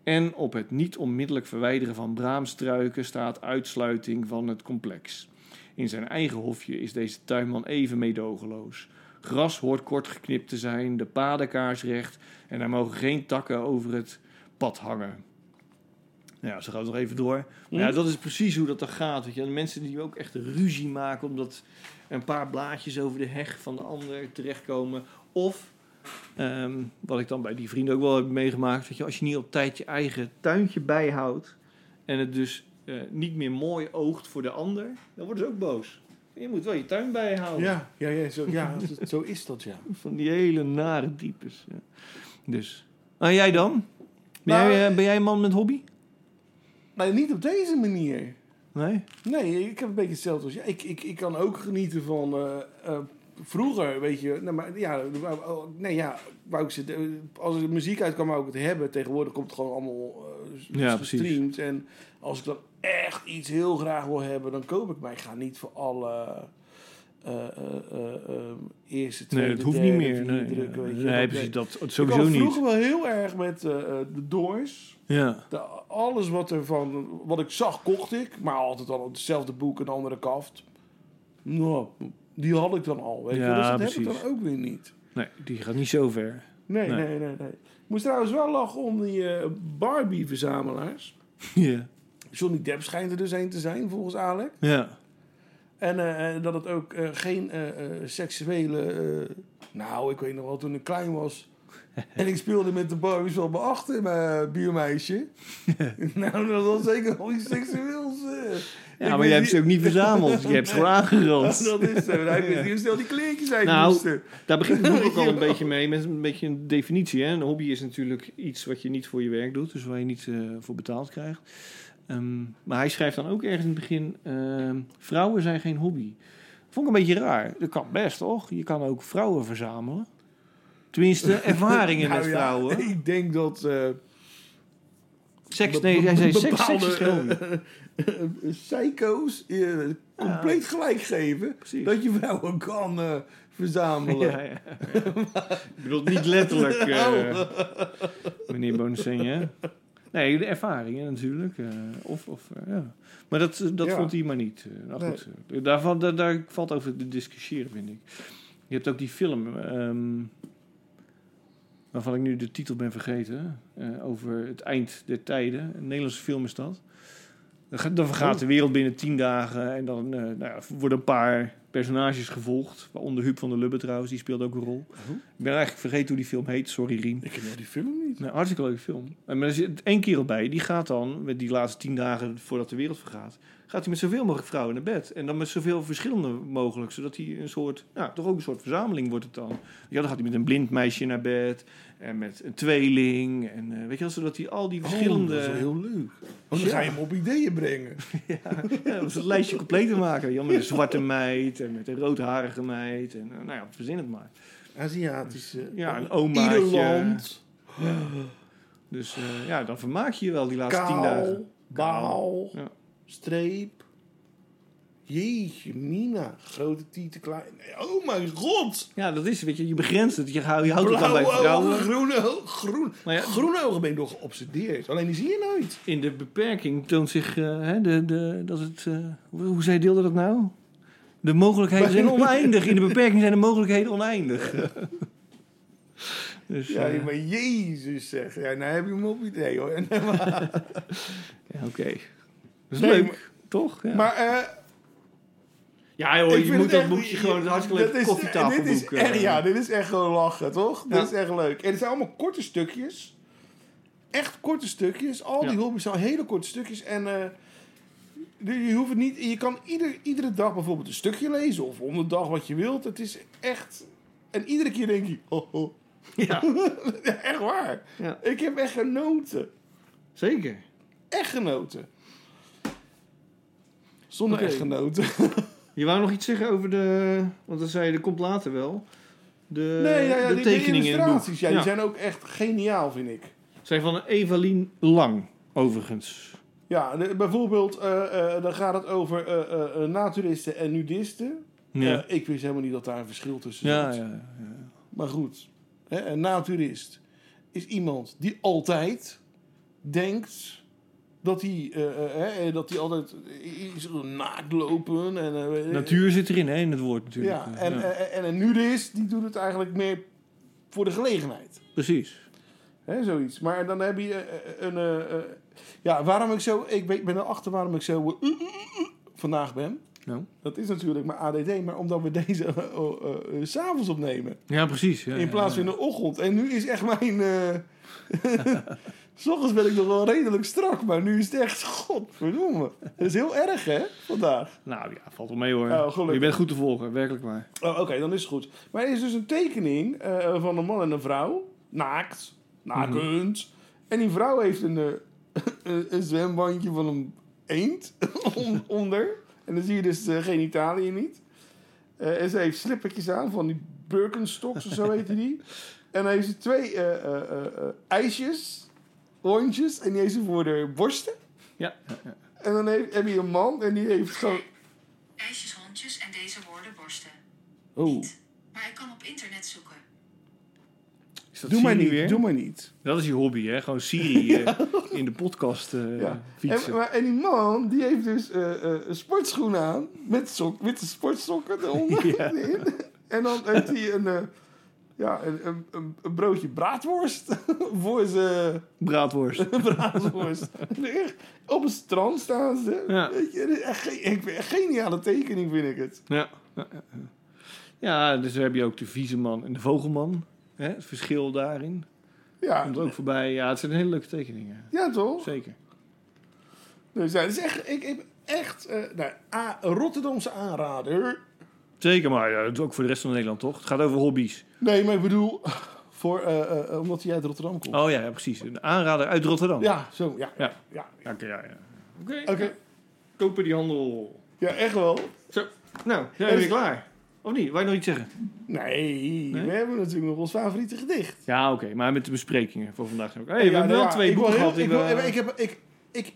Speaker 6: En op het niet onmiddellijk verwijderen van braamstruiken staat uitsluiting van het complex. In zijn eigen hofje is deze tuinman even meedogenloos. Gras hoort kort geknipt te zijn, de paden kaarsrecht en er mogen geen takken over het pad hangen. Nou ja, ze gaat nog even door. Maar ja, dat is precies hoe dat dan gaat. Weet je. De mensen die ook echt ruzie maken omdat een paar blaadjes over de heg van de ander terechtkomen. Of, ehm, wat ik dan bij die vrienden ook wel heb meegemaakt, weet je, als je niet op tijd je eigen tuintje bijhoudt en het dus eh, niet meer mooi oogt voor de ander, dan worden ze ook boos. Je moet wel je tuin bijhouden
Speaker 7: Ja, ja, ja, zo, ja zo- zo is dat, ja.
Speaker 6: van die hele nare types. ja. Dus. En jij dan? Ben,
Speaker 7: Nou,
Speaker 6: jij, eh, ben jij een man met hobby?
Speaker 7: Maar niet op deze manier.
Speaker 6: Nee?
Speaker 7: Nee, ik heb een beetje hetzelfde als jij. Ik, ik, ik kan ook genieten van eh, eh, vroeger, weet je. Nou, maar, ja, wou- wou- nee, ja, wou ik zitten, eh, als er muziek uitkwam, wou ik het hebben. Tegenwoordig komt het gewoon allemaal eh, s-
Speaker 6: Ja,
Speaker 7: gestreamd. En als ik dan echt iets heel graag wil hebben, dan koop ik mij. Ik ga niet voor alle eh, eh, eh, eh, eerste, tweede,
Speaker 6: Nee, dat hoeft niet
Speaker 7: derde,
Speaker 6: meer.
Speaker 7: vierde
Speaker 6: Nee,
Speaker 7: drukken, weet je.
Speaker 6: nee
Speaker 7: Dat-
Speaker 6: precies. Dat, dat
Speaker 7: Ik
Speaker 6: sowieso
Speaker 7: was
Speaker 6: niet.
Speaker 7: vroeger wel heel erg met eh, eh, de Doors.
Speaker 6: Ja.
Speaker 7: De- alles wat, er van, wat ik zag, kocht ik. Maar altijd al hetzelfde boek, een andere kaft. Nou, die had ik dan al, weet je.
Speaker 6: Ja,
Speaker 7: dus dat heb
Speaker 6: precies.
Speaker 7: ik dan ook weer niet.
Speaker 6: Nee, die gaat niet zo ver.
Speaker 7: Nee,
Speaker 6: Nee.
Speaker 7: nee, nee, nee. Ik moest trouwens wel lachen om die eh, Barbie-verzamelaars.
Speaker 6: Ja.
Speaker 7: Johnny Depp schijnt er dus een te zijn, volgens Alec.
Speaker 6: Ja.
Speaker 7: En eh, eh, dat het ook eh, geen eh, eh, seksuele... eh, nou, ik weet nog wel, toen ik klein was... En ik speelde met de Barbies wel mijn achter, mijn buurmeisje. nou, dat was zeker nog iets seksueels. eh,
Speaker 6: Ja, maar jij hebt ze ook niet verzameld. Je hebt ze gewoon aangerand.
Speaker 7: Oh, Dat is zo. Hij wist niet hoe snel die kleertjes zijn
Speaker 6: Nou,
Speaker 7: moesten.
Speaker 6: Daar begint het boek ook al een beetje mee, met een beetje een definitie. Hè? Een hobby is natuurlijk iets wat je niet voor je werk doet, dus waar je niet eh, voor betaald krijgt. Ehm, maar hij schrijft dan ook ergens in het begin, ehm, vrouwen zijn geen hobby. Vond ik een beetje raar. Dat kan best, toch? Je kan ook vrouwen verzamelen. Tenminste, ervaringen
Speaker 7: Nou
Speaker 6: met
Speaker 7: ja,
Speaker 6: vrouwen.
Speaker 7: Ik denk dat... eh,
Speaker 6: Seks,
Speaker 7: Be-
Speaker 6: nee, hij zei seks, seks
Speaker 7: bepaalde
Speaker 6: is geen hobby.
Speaker 7: eh, psycho's eh, compleet gelijk geven
Speaker 6: Precies.
Speaker 7: dat je vrouwen kan eh, verzamelen.
Speaker 6: Ja, ja, ja. Ik bedoel, niet letterlijk, eh,
Speaker 7: Oh.
Speaker 6: meneer Bonusing, hè? Nee, de ervaringen natuurlijk. eh, of, of, eh, ja. Maar dat, dat
Speaker 7: Ja.
Speaker 6: vond hij maar niet. Eh, nou
Speaker 7: Nee.
Speaker 6: goed, eh, daar, valt- daar, daar valt over te discussiëren, vind ik. Je hebt ook die film, ehm, waarvan ik nu de titel ben vergeten, eh, over het eind der tijden. Een Nederlandse film is dat. Dan gaat- Dan vergaat de
Speaker 7: Oh.
Speaker 6: wereld binnen tien dagen en dan eh, nou ja, worden een paar personages gevolgd. Waaronder Huub van der Lubbe trouwens, die speelt ook een rol.
Speaker 7: Oh.
Speaker 6: Ik ben eigenlijk vergeten hoe die film heet, sorry Rien.
Speaker 7: Ik ken die film niet.
Speaker 6: Een hartstikke leuke film. En Maar er zit één kerel bij, die gaat dan, met die laatste tien dagen voordat de wereld vergaat, gaat hij met zoveel mogelijk vrouwen naar bed. En dan met zoveel verschillende mogelijk, zodat hij een soort, nou toch ook een soort verzameling wordt het dan. Ja, dan gaat hij met een blind meisje naar bed, en met een tweeling, en eh, weet je wel, zodat hij al die verschillende...
Speaker 7: Oh, dat is heel leuk. Want
Speaker 6: Ja.
Speaker 7: dan ga je hem op ideeën brengen.
Speaker 6: Ja, om zo'n lijstje compleet te maken. Ja, met een zwarte meid en met een roodharige meid. En, eh, nou ja, verzin het maar.
Speaker 7: Aziatische.
Speaker 6: Ja, een omaatje.
Speaker 7: Ieder land.
Speaker 6: Dus eh, ja, dan vermaak je je wel die laatste tien
Speaker 7: Kaal.
Speaker 6: dagen.
Speaker 7: Baal.
Speaker 6: Ja.
Speaker 7: Streep. Jeetje, Mina. Grote tieten, klein. Nee, Oh mijn god.
Speaker 6: Ja, dat is, weet je, je begrenst het. Je, hou- je houdt het dan bij
Speaker 7: Blauwe ogen,
Speaker 6: vrouwen.
Speaker 7: groene ogen. Groen.
Speaker 6: Maar ja-
Speaker 7: Groene ogen ben ik door geobsedeerd. Alleen die zie je nooit.
Speaker 6: In de beperking toont zich, eh, hè, de, de, dat het, eh, hoe, hoe zei deelde dat nou? De mogelijkheden zijn oneindig. In de beperking zijn de mogelijkheden oneindig. dus,
Speaker 7: Ja,
Speaker 6: eh,
Speaker 7: maar jezus zeg. Ja, nou heb je hem op idee hoor. En-
Speaker 6: ja, oké. Dat is
Speaker 7: Nee,
Speaker 6: leuk,
Speaker 7: maar-
Speaker 6: toch? Ja.
Speaker 7: Maar eh,
Speaker 6: Ja hoor,
Speaker 7: Ik
Speaker 6: Oh, je
Speaker 7: vind
Speaker 6: moet
Speaker 7: het
Speaker 6: dat
Speaker 7: echt-
Speaker 6: boekje gewoon het hartstikke
Speaker 7: dat
Speaker 6: leuke
Speaker 7: is-
Speaker 6: koffietafelboek...
Speaker 7: Dit is
Speaker 6: eh,
Speaker 7: echt, ja, dit is echt gewoon lachen, toch?
Speaker 6: Ja.
Speaker 7: Dit is echt leuk. En het zijn allemaal korte stukjes. Echt korte stukjes. Al die
Speaker 6: Ja.
Speaker 7: hobby's zijn hele korte stukjes. En eh, je je hoeft het niet... Je kan ieder, iedere dag bijvoorbeeld een stukje lezen. Of onderdag wat je wilt. Het is echt... En iedere keer denk je... Oh, oh.
Speaker 6: Ja,
Speaker 7: echt waar.
Speaker 6: Ja.
Speaker 7: Ik heb echt genoten.
Speaker 6: zeker.
Speaker 7: Echt genoten. Zonder
Speaker 6: Oké.
Speaker 7: echt genoten.
Speaker 6: Je wou nog iets zeggen over de... Want dan zei je, dat komt later wel. De,
Speaker 7: nee, ja, ja,
Speaker 6: de
Speaker 7: die, die
Speaker 6: tekeningen in het boek.
Speaker 7: illustraties ja, die zijn ook echt geniaal, vind ik.
Speaker 6: Zijn van Evalien Lang, overigens.
Speaker 7: Ja, de- bijvoorbeeld, eh, eh, dan gaat het over eh, eh, eh, naturisten en nudisten.
Speaker 6: Ja,
Speaker 7: Eh, ik wist helemaal niet dat daar een verschil tussen
Speaker 6: ja,
Speaker 7: zat.
Speaker 6: ja.
Speaker 7: Maar goed, hè, een naturist is iemand die altijd denkt dat hij, eh, eh, hè, eh, dat hij altijd iets naakt lopen. En, eh, eh,
Speaker 6: Natuur zit erin, hè, in het woord natuurlijk.
Speaker 7: Ja, en, eh, en een nudist die doet het eigenlijk meer voor de gelegenheid.
Speaker 6: Precies.
Speaker 7: Hè, zoiets. Maar dan heb je eh, een. eh, eh, ja, waarom ik zo. Ik weet- ben erachter waarom ik zo. eh, eh, eh, eh, vandaag ben.
Speaker 6: Nou.
Speaker 7: Dat is natuurlijk mijn ADD, maar omdat we deze eh, oh, eh, eh, 's s'avonds opnemen.
Speaker 6: Ja, precies. Ja,
Speaker 7: In plaats van in de ochtend. En nu is echt mijn. eh, S ochtends ben ik nog wel redelijk strak, maar nu is het echt. Godverdomme. Dat is heel erg, hè? Vandaag.
Speaker 6: Nou ja, valt wel mee hoor.
Speaker 7: Oh, gelukkig.
Speaker 6: je bent goed te volgen, werkelijk waar.
Speaker 7: Oh, Oké, dan is het goed. Maar er is dus een tekening eh, van een man en een vrouw. Naakt. Nakend. En die vrouw heeft een, eh, een, een zwembandje van een eend on- onder. En dan zie je dus eh, genitaliën niet. Eh, en ze heeft slippertjes aan van die Birkenstocks of zo heette die. En dan heeft ze twee eh, eh, eh, eh, ijsjes, rondjes. En die heeft ze voor de borsten.
Speaker 6: Ja.
Speaker 7: En dan heeft, heb je een man en die heeft gewoon...
Speaker 5: ijsjes, hondjes en deze woorden borsten.
Speaker 7: Oh,
Speaker 5: Maar ik kan op internet zoeken.
Speaker 6: Is dat
Speaker 7: doe maar
Speaker 6: Siri
Speaker 7: niet,
Speaker 6: weer?
Speaker 7: doe maar niet.
Speaker 6: Dat is je hobby, hè? Gewoon Siri eh, in de podcast eh,
Speaker 7: Ja.
Speaker 6: fietsen.
Speaker 7: En, maar, en die man, die heeft dus eh eh sportschoenen aan. Met sok, witte sportsokken eronder.
Speaker 6: Ja.
Speaker 7: erin. En dan heeft hij een, eh, ja, een, een, een, een broodje braadworst. voor zijn
Speaker 6: Braadworst.
Speaker 7: braadworst. Echt, Op het strand staan ze.
Speaker 6: Ja.
Speaker 7: Weet je, dit is echt, ge- ik vind- echt geniale tekening, vind ik het.
Speaker 6: Ja. Ja, dus dan heb je ook de vieze man en de vogelman. Hè? Het verschil daarin.
Speaker 7: Ja,
Speaker 6: Komt er ook voorbij. Ja, het zijn hele leuke tekeningen.
Speaker 7: ja toch?
Speaker 6: Zeker.
Speaker 7: Dus ja, het is echt, ik, ik, echt eh, nou, a- een Rotterdamse aanrader.
Speaker 6: Zeker, maar ja, het is ook voor de rest van Nederland, toch? Het gaat over hobby's.
Speaker 7: Nee, maar ik bedoel, voor, eh, eh, omdat hij uit Rotterdam komt.
Speaker 6: Oh ja, ja, precies. Een aanrader uit Rotterdam.
Speaker 7: Ja, zo, ja.
Speaker 6: Ja.
Speaker 7: ja.
Speaker 6: Ja, Oké, ja, ja. Oké.
Speaker 7: Oké,
Speaker 6: Kopen die handel.
Speaker 7: ja, echt wel.
Speaker 6: Zo. Nou, zijn
Speaker 7: En-
Speaker 6: we weer klaar. Of niet? Wou je nog iets zeggen?
Speaker 7: Nee,
Speaker 6: Nee?
Speaker 7: we hebben natuurlijk nog ons favoriete gedicht.
Speaker 6: Ja, oké. maar met de besprekingen voor vandaag. Hé, hey, we
Speaker 7: Ja,
Speaker 6: hebben
Speaker 7: nou
Speaker 6: wel
Speaker 7: ja,
Speaker 6: twee
Speaker 7: ik wil
Speaker 6: boeken
Speaker 7: heel-
Speaker 6: gehad. die
Speaker 7: Ik, wil-
Speaker 6: we-
Speaker 7: ik, heb, ik, ik,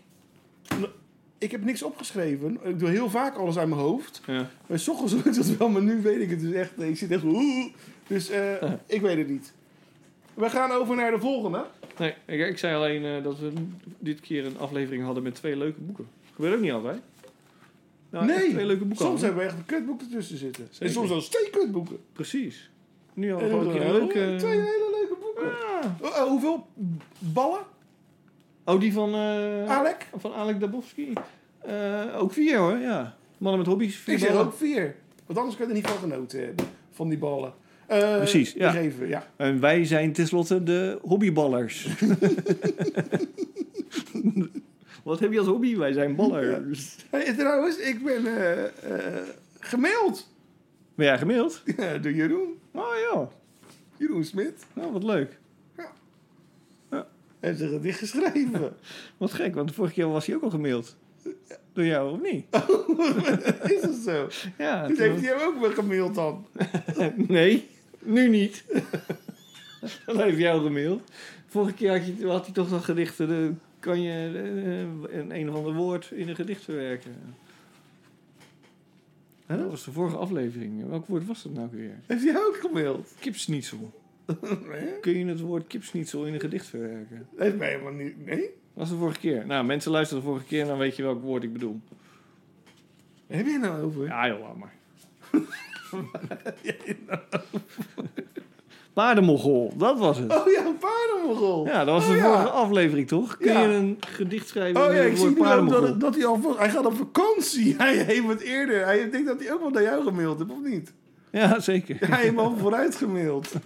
Speaker 7: ik heb niks opgeschreven. Ik doe heel vaak alles uit mijn hoofd.
Speaker 6: Ja.
Speaker 7: Maar s ochtends lukt dat wel, maar nu weet ik het dus echt. Ik zit echt... oeh. Dus eh, ik weet het niet. We gaan over naar de volgende.
Speaker 6: Nee, ik, ik zei alleen eh, dat we dit keer een aflevering hadden met twee leuke boeken. Gebeurt ook niet altijd. Nou, echt
Speaker 7: nee,
Speaker 6: Twee leuke boeken.
Speaker 7: soms
Speaker 6: hadden.
Speaker 7: hebben we echt kutboeken tussen zitten. En
Speaker 6: Zeker.
Speaker 7: soms zelfs twee kutboeken.
Speaker 6: Precies. Nu
Speaker 7: En
Speaker 6: hadden we ook een keer een
Speaker 7: dan- oh, Twee
Speaker 6: leuke...
Speaker 7: hele leuke boeken.
Speaker 6: Ah.
Speaker 7: Oh, oh, hoeveel ballen?
Speaker 6: Oh, die van... eh,
Speaker 7: Alek?
Speaker 6: Van Alek Dabowski. Eh, ook vier hoor, ja. Mannen met hobby's. vier
Speaker 7: Ik zeg
Speaker 6: ballen.
Speaker 7: ook vier. Want anders kun je er niet van genoten hebben. Van die ballen. Eh,
Speaker 6: Precies, ja.
Speaker 7: die geven we, ja.
Speaker 6: En wij zijn tenslotte de hobbyballers. Wat heb je als hobby? Wij zijn ballers.
Speaker 7: Hey, trouwens, ik ben eh, eh, gemaild
Speaker 6: Ben jij gemaild?
Speaker 7: Ja, door Jeroen.
Speaker 6: Oh ja,
Speaker 7: Jeroen Smit.
Speaker 6: nou, wat leuk.
Speaker 7: Hij heeft een gedicht geschreven.
Speaker 6: Wat gek, want de vorige keer was hij ook al gemaild. Door jou, of niet?
Speaker 7: Is dat zo?
Speaker 6: Ja.
Speaker 7: Dus
Speaker 6: toen-
Speaker 7: heeft hij hem ook weer gemaild dan?
Speaker 6: Nee, nu niet. Dan heeft jou gemaild. Vorige keer had, je, had hij toch dat gedicht... eh, de- kan je eh, een, een of ander woord in een gedicht verwerken? Dat was de vorige aflevering. Welk woord was dat nou weer?
Speaker 7: Heeft hij ook gemaild?
Speaker 6: Kipsnietsel.
Speaker 7: Nee?
Speaker 6: Kun je het woord kipsnietsel in een gedicht verwerken?
Speaker 7: Dat heeft mij helemaal niet... Nee?
Speaker 6: Dat was de vorige keer. Nou, mensen luisteren de vorige keer en dan weet je welk woord ik bedoel.
Speaker 7: Waar Heb je het nou over?
Speaker 6: Ja, joh, laat maar. Paardenmogol, dat was het.
Speaker 7: Oh ja, een paardenmogel.
Speaker 6: Ja, dat was
Speaker 7: Oh
Speaker 6: de
Speaker 7: ja.
Speaker 6: vorige aflevering, toch? Kun
Speaker 7: Ja.
Speaker 6: je een gedicht schrijven
Speaker 7: Oh
Speaker 6: met
Speaker 7: ja,
Speaker 6: het
Speaker 7: ik zie
Speaker 6: woord
Speaker 7: nu ook dat,
Speaker 6: paardenmogol?
Speaker 7: het- dat hij al... vol- Hij gaat op vakantie. Hij heeft het eerder. Hij denkt dat hij ook wel naar jou gemaild heeft, of niet?
Speaker 6: Ja, zeker.
Speaker 7: Hij heeft hem al vooruit gemaild.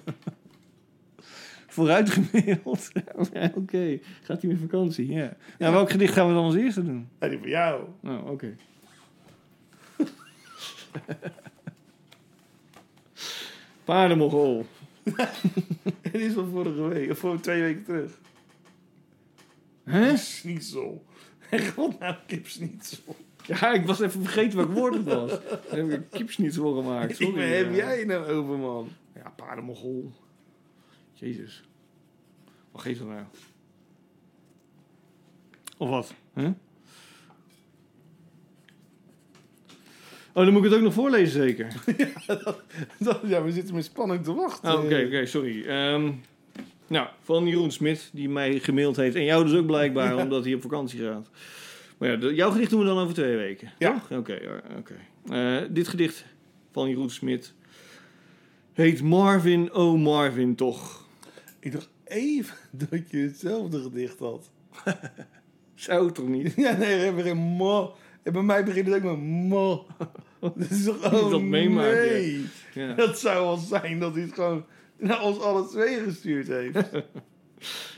Speaker 6: Vooruitgemaild. Ja, oké, gaat hij met vakantie? Ja. Nou, welk gedicht gaan we dan als eerste doen?
Speaker 7: Ja, die van jou.
Speaker 6: Nou, oké. Paardenmogol.
Speaker 7: En die is van vorige week. Of voor twee weken terug.
Speaker 6: Hè?
Speaker 7: Snietsel. Hij gaat naar kipsnietsel.
Speaker 6: Ja, ik was even vergeten welk woord het was. Daar heb ik een kipsnitzel gemaakt.
Speaker 7: Ik
Speaker 6: Sorry. eh,
Speaker 7: waar heb
Speaker 6: Ja.
Speaker 7: jij het nou over, man?
Speaker 6: Ja, paardenmogol. Jezus. Wat geeft dat nou? Of wat? Huh? Oh, dan moet ik het ook nog voorlezen, zeker.
Speaker 7: Dat- Ja, we zitten met spanning te wachten.
Speaker 6: Oh, Oké, oké, sorry. Ehm, nou, van Jeroen Smit, die mij gemaild heeft. En jou dus ook blijkbaar, omdat hij op vakantie gaat. Maar ja, de- jouw gedicht doen we dan over twee weken.
Speaker 7: Ja.
Speaker 6: toch? Oké, ja, oké. Eh, dit gedicht van Jeroen Smit heet Marvin, oh Marvin toch.
Speaker 7: Ik dacht even dat je hetzelfde gedicht had.
Speaker 6: Zou toch niet?
Speaker 7: Ja, nee, we hebben geen mo. En bij mij begint het ook met mo. Dat is toch oh,
Speaker 6: Dat meemaakt, ja.
Speaker 7: nee.
Speaker 6: Ja.
Speaker 7: Dat zou wel zijn dat hij het gewoon naar ons alle twee gestuurd heeft.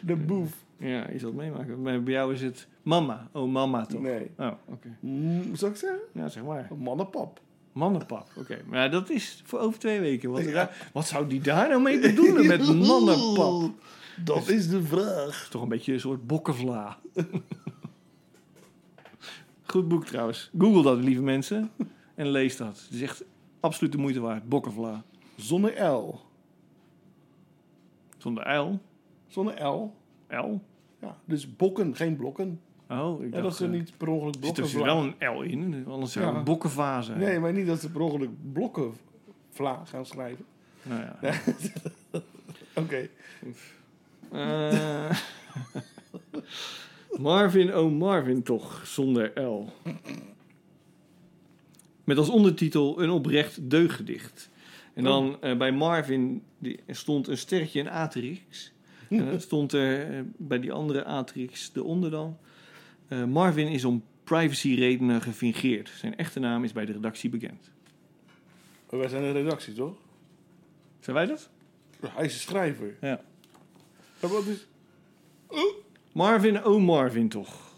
Speaker 7: De boef.
Speaker 6: ja, je zal het meemaken. Bij bij jou is het mama, oh mama toch.
Speaker 7: Nee.
Speaker 6: Oh, oké.
Speaker 7: Mm, Zou ik zeggen?
Speaker 6: Ja, zeg maar.
Speaker 7: Mannenpap.
Speaker 6: Mannenpap, oké. Maar ja, dat is voor over twee weken. Wat, daar- wat zou die daar nou mee bedoelen met mannenpap? Dus-
Speaker 7: Dat is de vraag.
Speaker 6: is toch een beetje een soort bokkenvla. Goed boek trouwens. Google dat, lieve mensen. En lees dat. Het is echt absoluut de moeite waard. Bokkenvla.
Speaker 7: Zonder L.
Speaker 6: Zonder L.
Speaker 7: Zonder L.
Speaker 6: L?
Speaker 7: Ja, dus bokken, geen blokken.
Speaker 6: Oh, ik
Speaker 7: Ja, dat
Speaker 6: dacht...
Speaker 7: ze
Speaker 6: eh,
Speaker 7: niet per ongeluk
Speaker 6: zit
Speaker 7: blokken
Speaker 6: er zit wel een L in, anders zou het
Speaker 7: Ja.
Speaker 6: bokkenva zijn.
Speaker 7: Nee, maar niet dat ze per ongeluk blokken vla gaan schrijven.
Speaker 6: Nou ja.
Speaker 7: Oké.
Speaker 6: Eh, Marvin, oh Marvin toch, zonder L. Met als ondertitel een oprecht deugdicht. En dan eh, bij Marvin die, stond een sterretje in Aterix. En dan stond er eh, bij die andere Aterix de onder dan. eh, Marvin is om privacyredenen gefingeerd. Zijn echte naam is bij de redactie bekend.
Speaker 7: Maar Wij zijn een redactie, toch?
Speaker 6: Zijn wij dat?
Speaker 7: Hij is een schrijver.
Speaker 6: Ja.
Speaker 7: Maar wat is...
Speaker 6: Marvin, oh Marvin toch.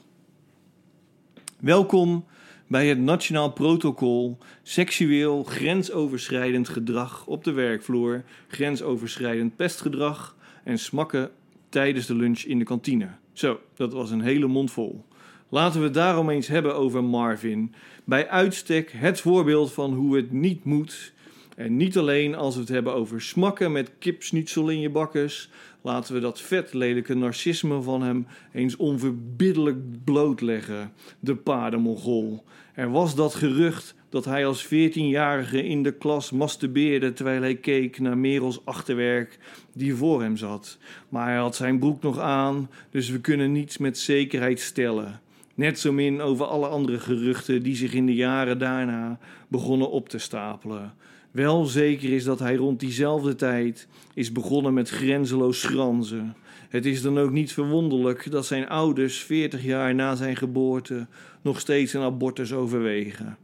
Speaker 6: Welkom bij het Nationaal Protocol Seksueel Grensoverschrijdend Gedrag op de werkvloer, Grensoverschrijdend Pestgedrag en Smakken tijdens de lunch in de kantine. Zo, dat was een hele mond vol. Laten we het daarom eens hebben over Marvin. Bij uitstek het voorbeeld van hoe het niet moet. En niet alleen als we het hebben over smakken met kipsnietsel in je bakkes. Laten we dat vet lelijke narcisme van hem eens onverbiddelijk blootleggen. De paardenmongol. Er was dat gerucht dat hij als 14-jarige in de klas masturbeerde terwijl hij keek naar Merels achterwerk die voor hem zat. Maar hij had zijn broek nog aan, dus we kunnen niets met zekerheid stellen. Net zo min over alle andere geruchten die zich in de jaren daarna begonnen op te stapelen. Wel zeker is dat hij rond diezelfde tijd is begonnen met grenzeloos schranzen. Het is dan ook niet verwonderlijk dat zijn ouders 40 jaar na zijn geboorte nog steeds een abortus overwegen.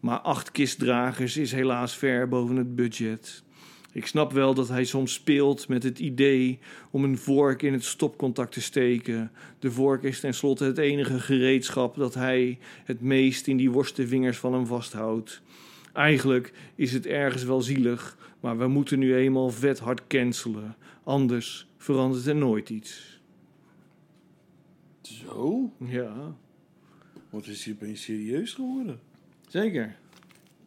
Speaker 6: Maar acht kistdragers is helaas ver boven het budget. Ik snap wel dat hij soms speelt met het idee om een vork in het stopcontact te steken. De vork is tenslotte het enige gereedschap dat hij het meest in die worste vingers van hem vasthoudt. Eigenlijk is het ergens wel zielig, maar we moeten nu eenmaal vet hard cancelen. Anders verandert er nooit iets.
Speaker 7: Zo?
Speaker 6: Ja,
Speaker 7: Wat is hier opeens serieus geworden?
Speaker 6: zeker.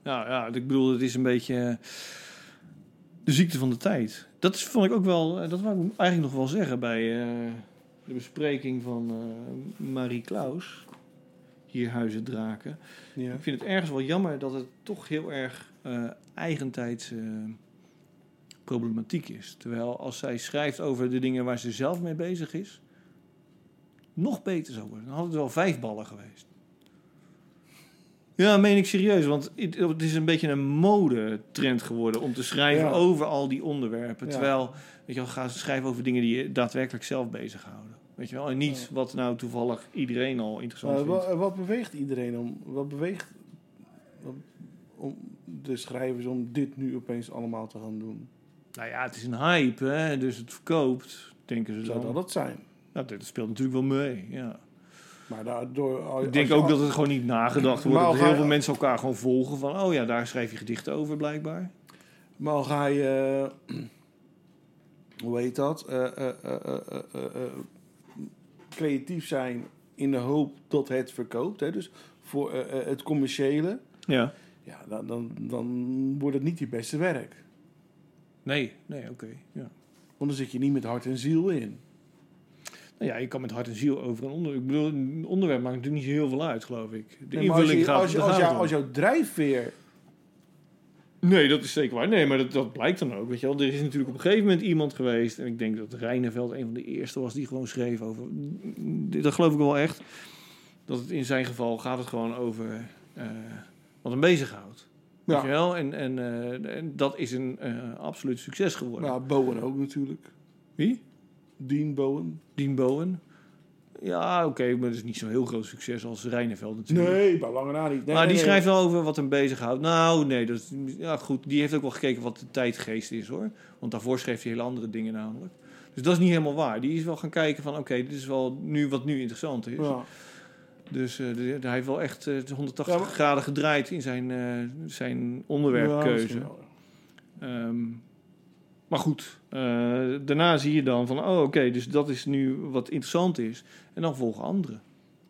Speaker 6: Nou ja, ik bedoel, het is een beetje eh, de ziekte van de tijd. Dat is, vond ik ook wel, eh, dat wou ik eigenlijk nog wel zeggen bij eh, de bespreking van eh, Marie Klaus. Hier Huizen Draken.
Speaker 7: Ja.
Speaker 6: Ik vind het ergens wel jammer dat het toch heel erg eh eigentijds eh, problematiek is. Terwijl als zij schrijft over de dingen waar ze zelf mee bezig is, nog beter zou worden. Dan had het wel vijf ballen geweest. Ja, meen ik serieus, want het het is een beetje een modetrend geworden om te schrijven
Speaker 7: Ja.
Speaker 6: over al die onderwerpen.
Speaker 7: Ja.
Speaker 6: Terwijl, weet je wel, ga schrijven over dingen die je daadwerkelijk zelf bezighouden. Weet je wel, en niet wat nou toevallig iedereen al interessant
Speaker 7: Maar
Speaker 6: vindt.
Speaker 7: wa- wat beweegt iedereen om? Wat beweegt wat- om de schrijvers om dit nu opeens allemaal te gaan doen?
Speaker 6: Nou ja, het is een hype, hè? dus het verkoopt, denken ze
Speaker 7: Zou
Speaker 6: dan.
Speaker 7: dat
Speaker 6: Dat,
Speaker 7: het zijn?
Speaker 6: dat speelt natuurlijk wel mee, ja.
Speaker 7: Maar daardoor... als-
Speaker 6: Ik denk
Speaker 7: als-
Speaker 6: ook dat het gewoon niet nagedacht wordt.
Speaker 7: Maar
Speaker 6: Dat
Speaker 7: ga
Speaker 6: heel
Speaker 7: je-
Speaker 6: veel mensen elkaar gewoon volgen van... oh ja, daar schrijf je gedichten over blijkbaar.
Speaker 7: Maar al ga je... eh, hoe heet dat? Eh, eh, eh, eh, eh, eh, eh, creatief zijn in de hoop dat het verkoopt. Hè? Dus voor eh, eh, het commerciële.
Speaker 6: Ja.
Speaker 7: Ja, dan, dan, dan wordt het niet je beste werk.
Speaker 6: Nee, nee, oké. Ja.
Speaker 7: Want dan zit je niet met hart en ziel in.
Speaker 6: Nou ja, je kan met hart en ziel over een onderwerp... Ik bedoel, een onderwerp maakt natuurlijk niet zo heel veel uit, geloof ik. De
Speaker 7: Nee, maar als,
Speaker 6: invulling
Speaker 7: je,
Speaker 6: gaat...
Speaker 7: als, je,
Speaker 6: daar
Speaker 7: als,
Speaker 6: gaat
Speaker 7: jou-
Speaker 6: het om.
Speaker 7: als jouw drijfveer
Speaker 6: Nee, dat is zeker waar. Nee, maar dat, dat blijkt dan ook. Weet je wel. Er is natuurlijk op een gegeven moment iemand geweest. En ik denk dat Reineveld een van de eerste was die gewoon schreef over. Dat geloof ik wel echt. Dat het in zijn geval gaat het gewoon over eh, wat hem bezighoudt.
Speaker 7: Ja.
Speaker 6: Weet je wel? En, en, eh, en dat is een eh, absoluut succes geworden.
Speaker 7: Nou, Bowen ook natuurlijk.
Speaker 6: Wie?
Speaker 7: Dean Bowen.
Speaker 6: Dean Bowen. Ja, oké, maar dat is niet zo'n heel groot succes als Reineveld natuurlijk.
Speaker 7: Nee, bij lange na niet. Nee,
Speaker 6: maar
Speaker 7: nee,
Speaker 6: die
Speaker 7: nee.
Speaker 6: schrijft wel over wat hem bezighoudt. Nou, nee, dat is, ja, goed. Die heeft ook wel gekeken wat de tijdgeest is, hoor. Want daarvoor schreef hij hele andere dingen namelijk. Dus dat is niet helemaal waar. Die is wel gaan kijken van, oké, dit is wel nu wat nu interessant is.
Speaker 7: Ja.
Speaker 6: Dus eh, de- hij heeft wel echt eh, 180
Speaker 7: Ja, maar-
Speaker 6: graden gedraaid in zijn, eh, zijn onderwerpkeuze.
Speaker 7: Ja, misschien wel.
Speaker 6: Ehm, maar goed, eh, daarna zie je dan van, oh, oké, dus dat is nu wat interessant is. En dan volgen anderen.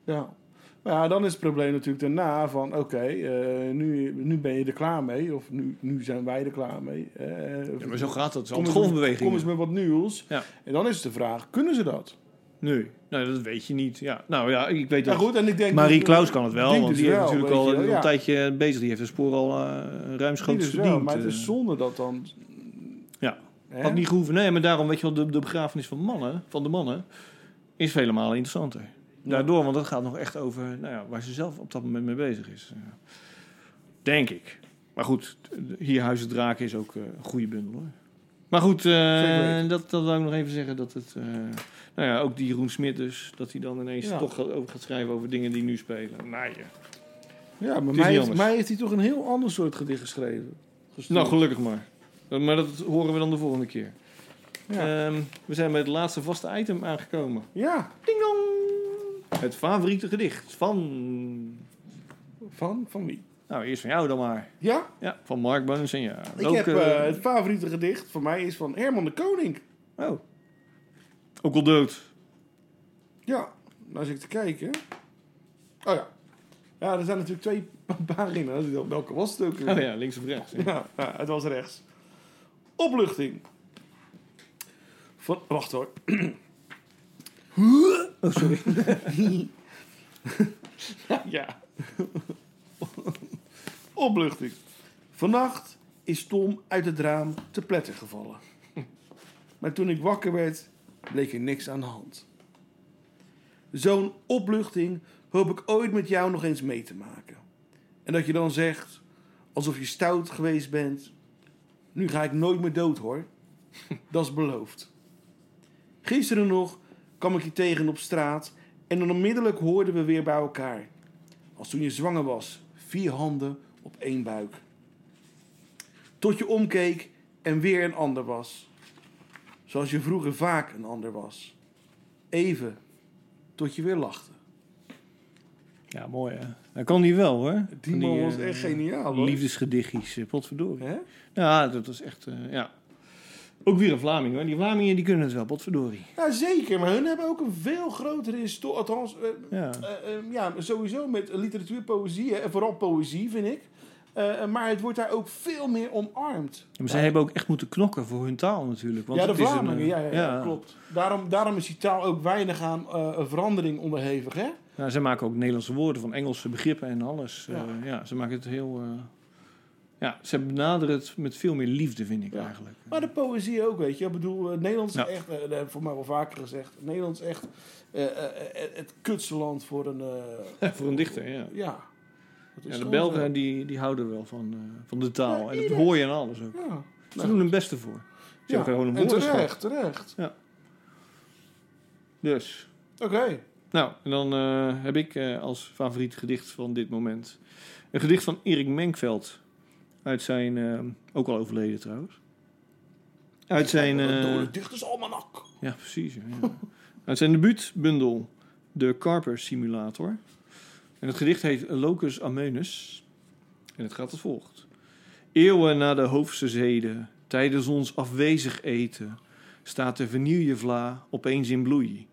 Speaker 7: Ja. Maar ja, dan is het probleem natuurlijk daarna van... Oké, eh, nu, nu ben je er klaar mee. Of nu, nu zijn wij er klaar mee. Eh,
Speaker 6: Ja, maar zo gaat dat. Zo
Speaker 7: kom eens met-
Speaker 6: golfbeweging.
Speaker 7: Kom eens met wat nieuws.
Speaker 6: Ja.
Speaker 7: En dan is de vraag, kunnen ze dat?
Speaker 6: Nee, nou, dat weet je niet. Ja. Nou ja, ik weet
Speaker 7: Ja,
Speaker 6: dat
Speaker 7: goed, en ik denk...
Speaker 6: Marie
Speaker 7: dat-
Speaker 6: Klaus kan het
Speaker 7: Ik
Speaker 6: wel,
Speaker 7: denk
Speaker 6: want
Speaker 7: dus
Speaker 6: die heeft
Speaker 7: wel,
Speaker 6: natuurlijk
Speaker 7: weet
Speaker 6: al
Speaker 7: je
Speaker 6: een
Speaker 7: wel, ja.
Speaker 6: tijdje eh, bezig. Die heeft een spoor al eh,
Speaker 7: Die
Speaker 6: ruimschoots
Speaker 7: dus wel,
Speaker 6: verdiend.
Speaker 7: maar het
Speaker 6: eh.
Speaker 7: is zonde dat dan...
Speaker 6: Ja.
Speaker 7: Hè?
Speaker 6: Had niet gehoeven. Nee, maar daarom weet je wel, de, de begrafenis van, mannen, van de mannen is vele malen interessanter. Daardoor, want dat gaat nog echt over nou ja, waar ze zelf op dat moment mee bezig is. Ja. Denk ik. Maar goed, hier Huizen Draken is ook eh, een goede bundel hoor. Maar goed, eh,
Speaker 7: Zeker weten.
Speaker 6: dat, dat wil ik nog even zeggen. Dat het, eh, nou ja, ook die Jeroen Smit dus, dat hij dan ineens
Speaker 7: Ja.
Speaker 6: toch gaat- over gaat schrijven over dingen die nu spelen. Nou ja.
Speaker 7: Ja, maar
Speaker 6: niet
Speaker 7: mij heeft,
Speaker 6: anders.
Speaker 7: mij heeft hij toch een heel ander soort gedicht geschreven. Gestuurd.
Speaker 6: Nou, gelukkig maar. Dat- Maar dat horen we dan de volgende keer.
Speaker 7: Ja.
Speaker 6: Ehm, we zijn bij het laatste vaste item aangekomen.
Speaker 7: Ja.
Speaker 6: Ding dong! Het favoriete gedicht van...
Speaker 7: Van, van wie?
Speaker 6: Nou, eerst van jou dan maar.
Speaker 7: Ja,
Speaker 6: Ja, van Mark Bunns en ja.
Speaker 7: ik
Speaker 6: ook,
Speaker 7: heb
Speaker 6: eh,
Speaker 7: eh, het favoriete gedicht van mij is van Herman de Koning.
Speaker 6: oh. Ook al dood.
Speaker 7: Ja, nou zit ik te kijken. Oh ja. Ja, er zijn natuurlijk twee pagina's. Welke was het ook? weer?
Speaker 6: Oh ja, links of rechts. Ja.
Speaker 7: Ja, ja, het was rechts. Opluchting. Van, wacht hoor.
Speaker 6: Oh, sorry.
Speaker 7: Ja. Opluchting. Vannacht is Tom uit het raam te pletter gevallen. Maar toen ik wakker werd, bleek er niks aan de hand. Zo'n opluchting hoop ik ooit met jou nog eens mee te maken. En dat je dan zegt, alsof je stout geweest bent... Nu ga ik nooit meer dood, hoor. Dat is beloofd. Gisteren nog kwam ik je tegen op straat... en dan onmiddellijk hoorden we weer bij elkaar. Als toen je zwanger was, vier handen op één buik. Tot je omkeek en weer een ander was. Zoals je vroeger vaak een ander was. Even, tot je weer lachte.
Speaker 6: Ja, mooi hè. Dat Nou, kan die wel hoor. Van
Speaker 7: Die man was
Speaker 6: eh,
Speaker 7: echt geniaal hoor.
Speaker 6: Liefdesgedichtjes, eh, potverdorie.
Speaker 7: Hè?
Speaker 6: Ja, dat was echt, eh, ja. Ook weer een Vlaming hoor. Die Vlamingen die kunnen het wel, potverdorie.
Speaker 7: Ja, zeker, maar hun hebben ook een veel grotere historie. Althans, eh,
Speaker 6: Ja.
Speaker 7: eh, eh, ja, sowieso met literatuur, poëzie, hè, en vooral poëzie vind ik. Eh, maar het wordt daar ook veel meer omarmd.
Speaker 6: Maar zij hebben ook echt moeten knokken voor hun taal natuurlijk. Want
Speaker 7: ja, de
Speaker 6: het is een,
Speaker 7: Vlamingen,
Speaker 6: eh,
Speaker 7: ja, ja, ja, klopt. Daarom, daarom is die taal ook weinig aan eh, verandering onderhevig, hè?
Speaker 6: Nou, zij maken ook Nederlandse woorden van Engelse begrippen en alles.
Speaker 7: Ja.
Speaker 6: Ja, ja ze maken het heel... eh, ja, ze benaderen het met veel meer liefde, vind ik
Speaker 7: Ja.
Speaker 6: eigenlijk.
Speaker 7: Maar de poëzie ook, weet je. Ik bedoel, eh, Nederland is
Speaker 6: Ja.
Speaker 7: echt, eh, dat heb ik voor mij wel vaker gezegd, Nederland is echt eh, eh, eh, het kutste land voor een... eh,
Speaker 6: voor een dichter, ja.
Speaker 7: ja. Dat is
Speaker 6: Ja, de
Speaker 7: gewoon
Speaker 6: Belgen
Speaker 7: zo.
Speaker 6: die, die houden wel van, eh, van de taal.
Speaker 7: Ja,
Speaker 6: en dat
Speaker 7: iedereen.
Speaker 6: hoor je en alles ook.
Speaker 7: Ja.
Speaker 6: Ze doen hun beste voor. Ze
Speaker 7: Ja,
Speaker 6: hebben gewoon een
Speaker 7: en
Speaker 6: woordenschat.
Speaker 7: terecht, terecht.
Speaker 6: Dus.
Speaker 7: Oké.
Speaker 6: Nou, en dan eh, heb ik eh, als favoriet gedicht van dit moment... een gedicht van Erik Menkveld. Uit zijn... eh, ook al overleden trouwens. Uit zijn...
Speaker 7: Door
Speaker 6: eh,
Speaker 7: de dichtersalmanak.
Speaker 6: Ja, precies. ja, Ja. Uit zijn debuutbundel, De Carper Simulator. En het gedicht heet Locus Amenus. En het gaat als volgt. Eeuwen na de hoofdse zeden, tijdens ons afwezig eten, staat de vanillevla opeens in bloei.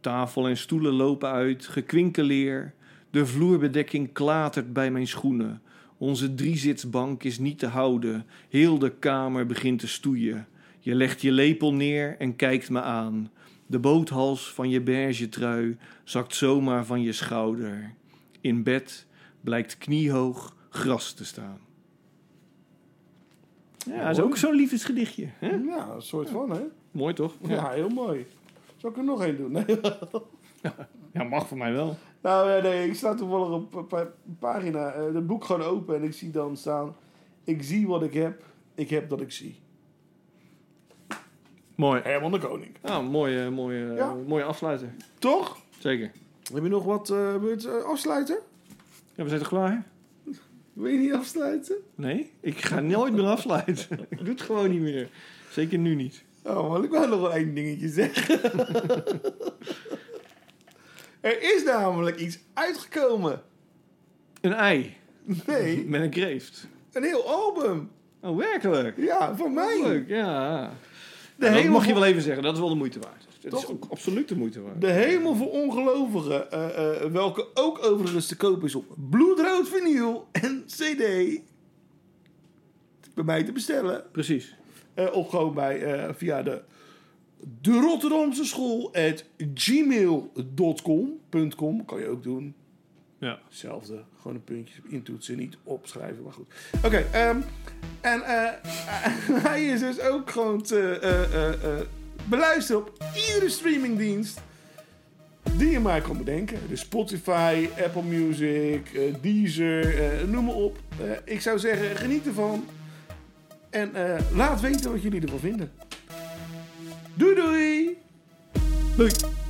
Speaker 6: Tafel en stoelen lopen uit, gekwinkeleer. De vloerbedekking klatert bij mijn schoenen. Onze driezitsbank is niet te houden. Heel de kamer begint te stoeien. Je legt je lepel neer en kijkt me aan. De boothals van je beige trui zakt zomaar van je schouder. In bed blijkt kniehoog gras te staan. Ja, dat is ook zo'n liefdesgedichtje. Hè?
Speaker 7: Ja, een soort van, hè?
Speaker 6: Mooi toch?
Speaker 7: Ja, heel mooi. Zal ik er nog één doen? Nee.
Speaker 6: ja, mag voor mij wel.
Speaker 7: Nou, eh, nee, ik sta toevallig op een pa- pagina, eh, het boek gewoon open en ik zie dan staan... Ik zie wat ik heb, ik heb dat ik zie.
Speaker 6: Mooi.
Speaker 7: Herman de Koning.
Speaker 6: Ah, mooie, mooie,
Speaker 7: Ja.
Speaker 6: mooie afsluiter.
Speaker 7: Toch?
Speaker 6: Zeker.
Speaker 7: Heb je nog wat eh wil je het, eh, afsluiten?
Speaker 6: Ja, we zijn toch klaar?
Speaker 7: Wil je niet afsluiten?
Speaker 6: Nee? Ik ga nooit meer afsluiten. ik doe het gewoon niet meer. Zeker nu niet.
Speaker 7: Oh, maar ik wil nog wel één dingetje zeggen. er is namelijk iets uitgekomen.
Speaker 6: Een ei
Speaker 7: Nee,
Speaker 6: met een kreeft.
Speaker 7: een heel album.
Speaker 6: Oh, werkelijk?
Speaker 7: Ja, van mij.
Speaker 6: Leuk, ja.
Speaker 7: De,
Speaker 6: dat
Speaker 7: hemel
Speaker 6: mag je
Speaker 7: voor,
Speaker 6: wel even zeggen. Dat is wel de moeite waard. Het is
Speaker 7: Toch?
Speaker 6: ook absoluut de moeite waard.
Speaker 7: de hemel voor ongelovigen. eh, eh, welke ook overigens te koop is op bloedrood vinyl en cd. Bij mij te bestellen.
Speaker 6: Precies.
Speaker 7: Eh, of gewoon bij, eh, via de, de Rotterdamse school at gmail.com. punt com, kan je ook doen.
Speaker 6: Ja.
Speaker 7: Hetzelfde. Gewoon een puntje intoetsen, niet opschrijven, maar goed. Oké, ehm, en eh, hij is dus ook gewoon te eh, eh, eh, beluisteren op iedere streamingdienst die je maar kan bedenken. Dus Spotify, Apple Music, eh, Deezer, eh, noem maar op. Eh, ik zou zeggen, geniet ervan. En eh, laat weten wat jullie ervan vinden. Doei doei!
Speaker 6: Leuk.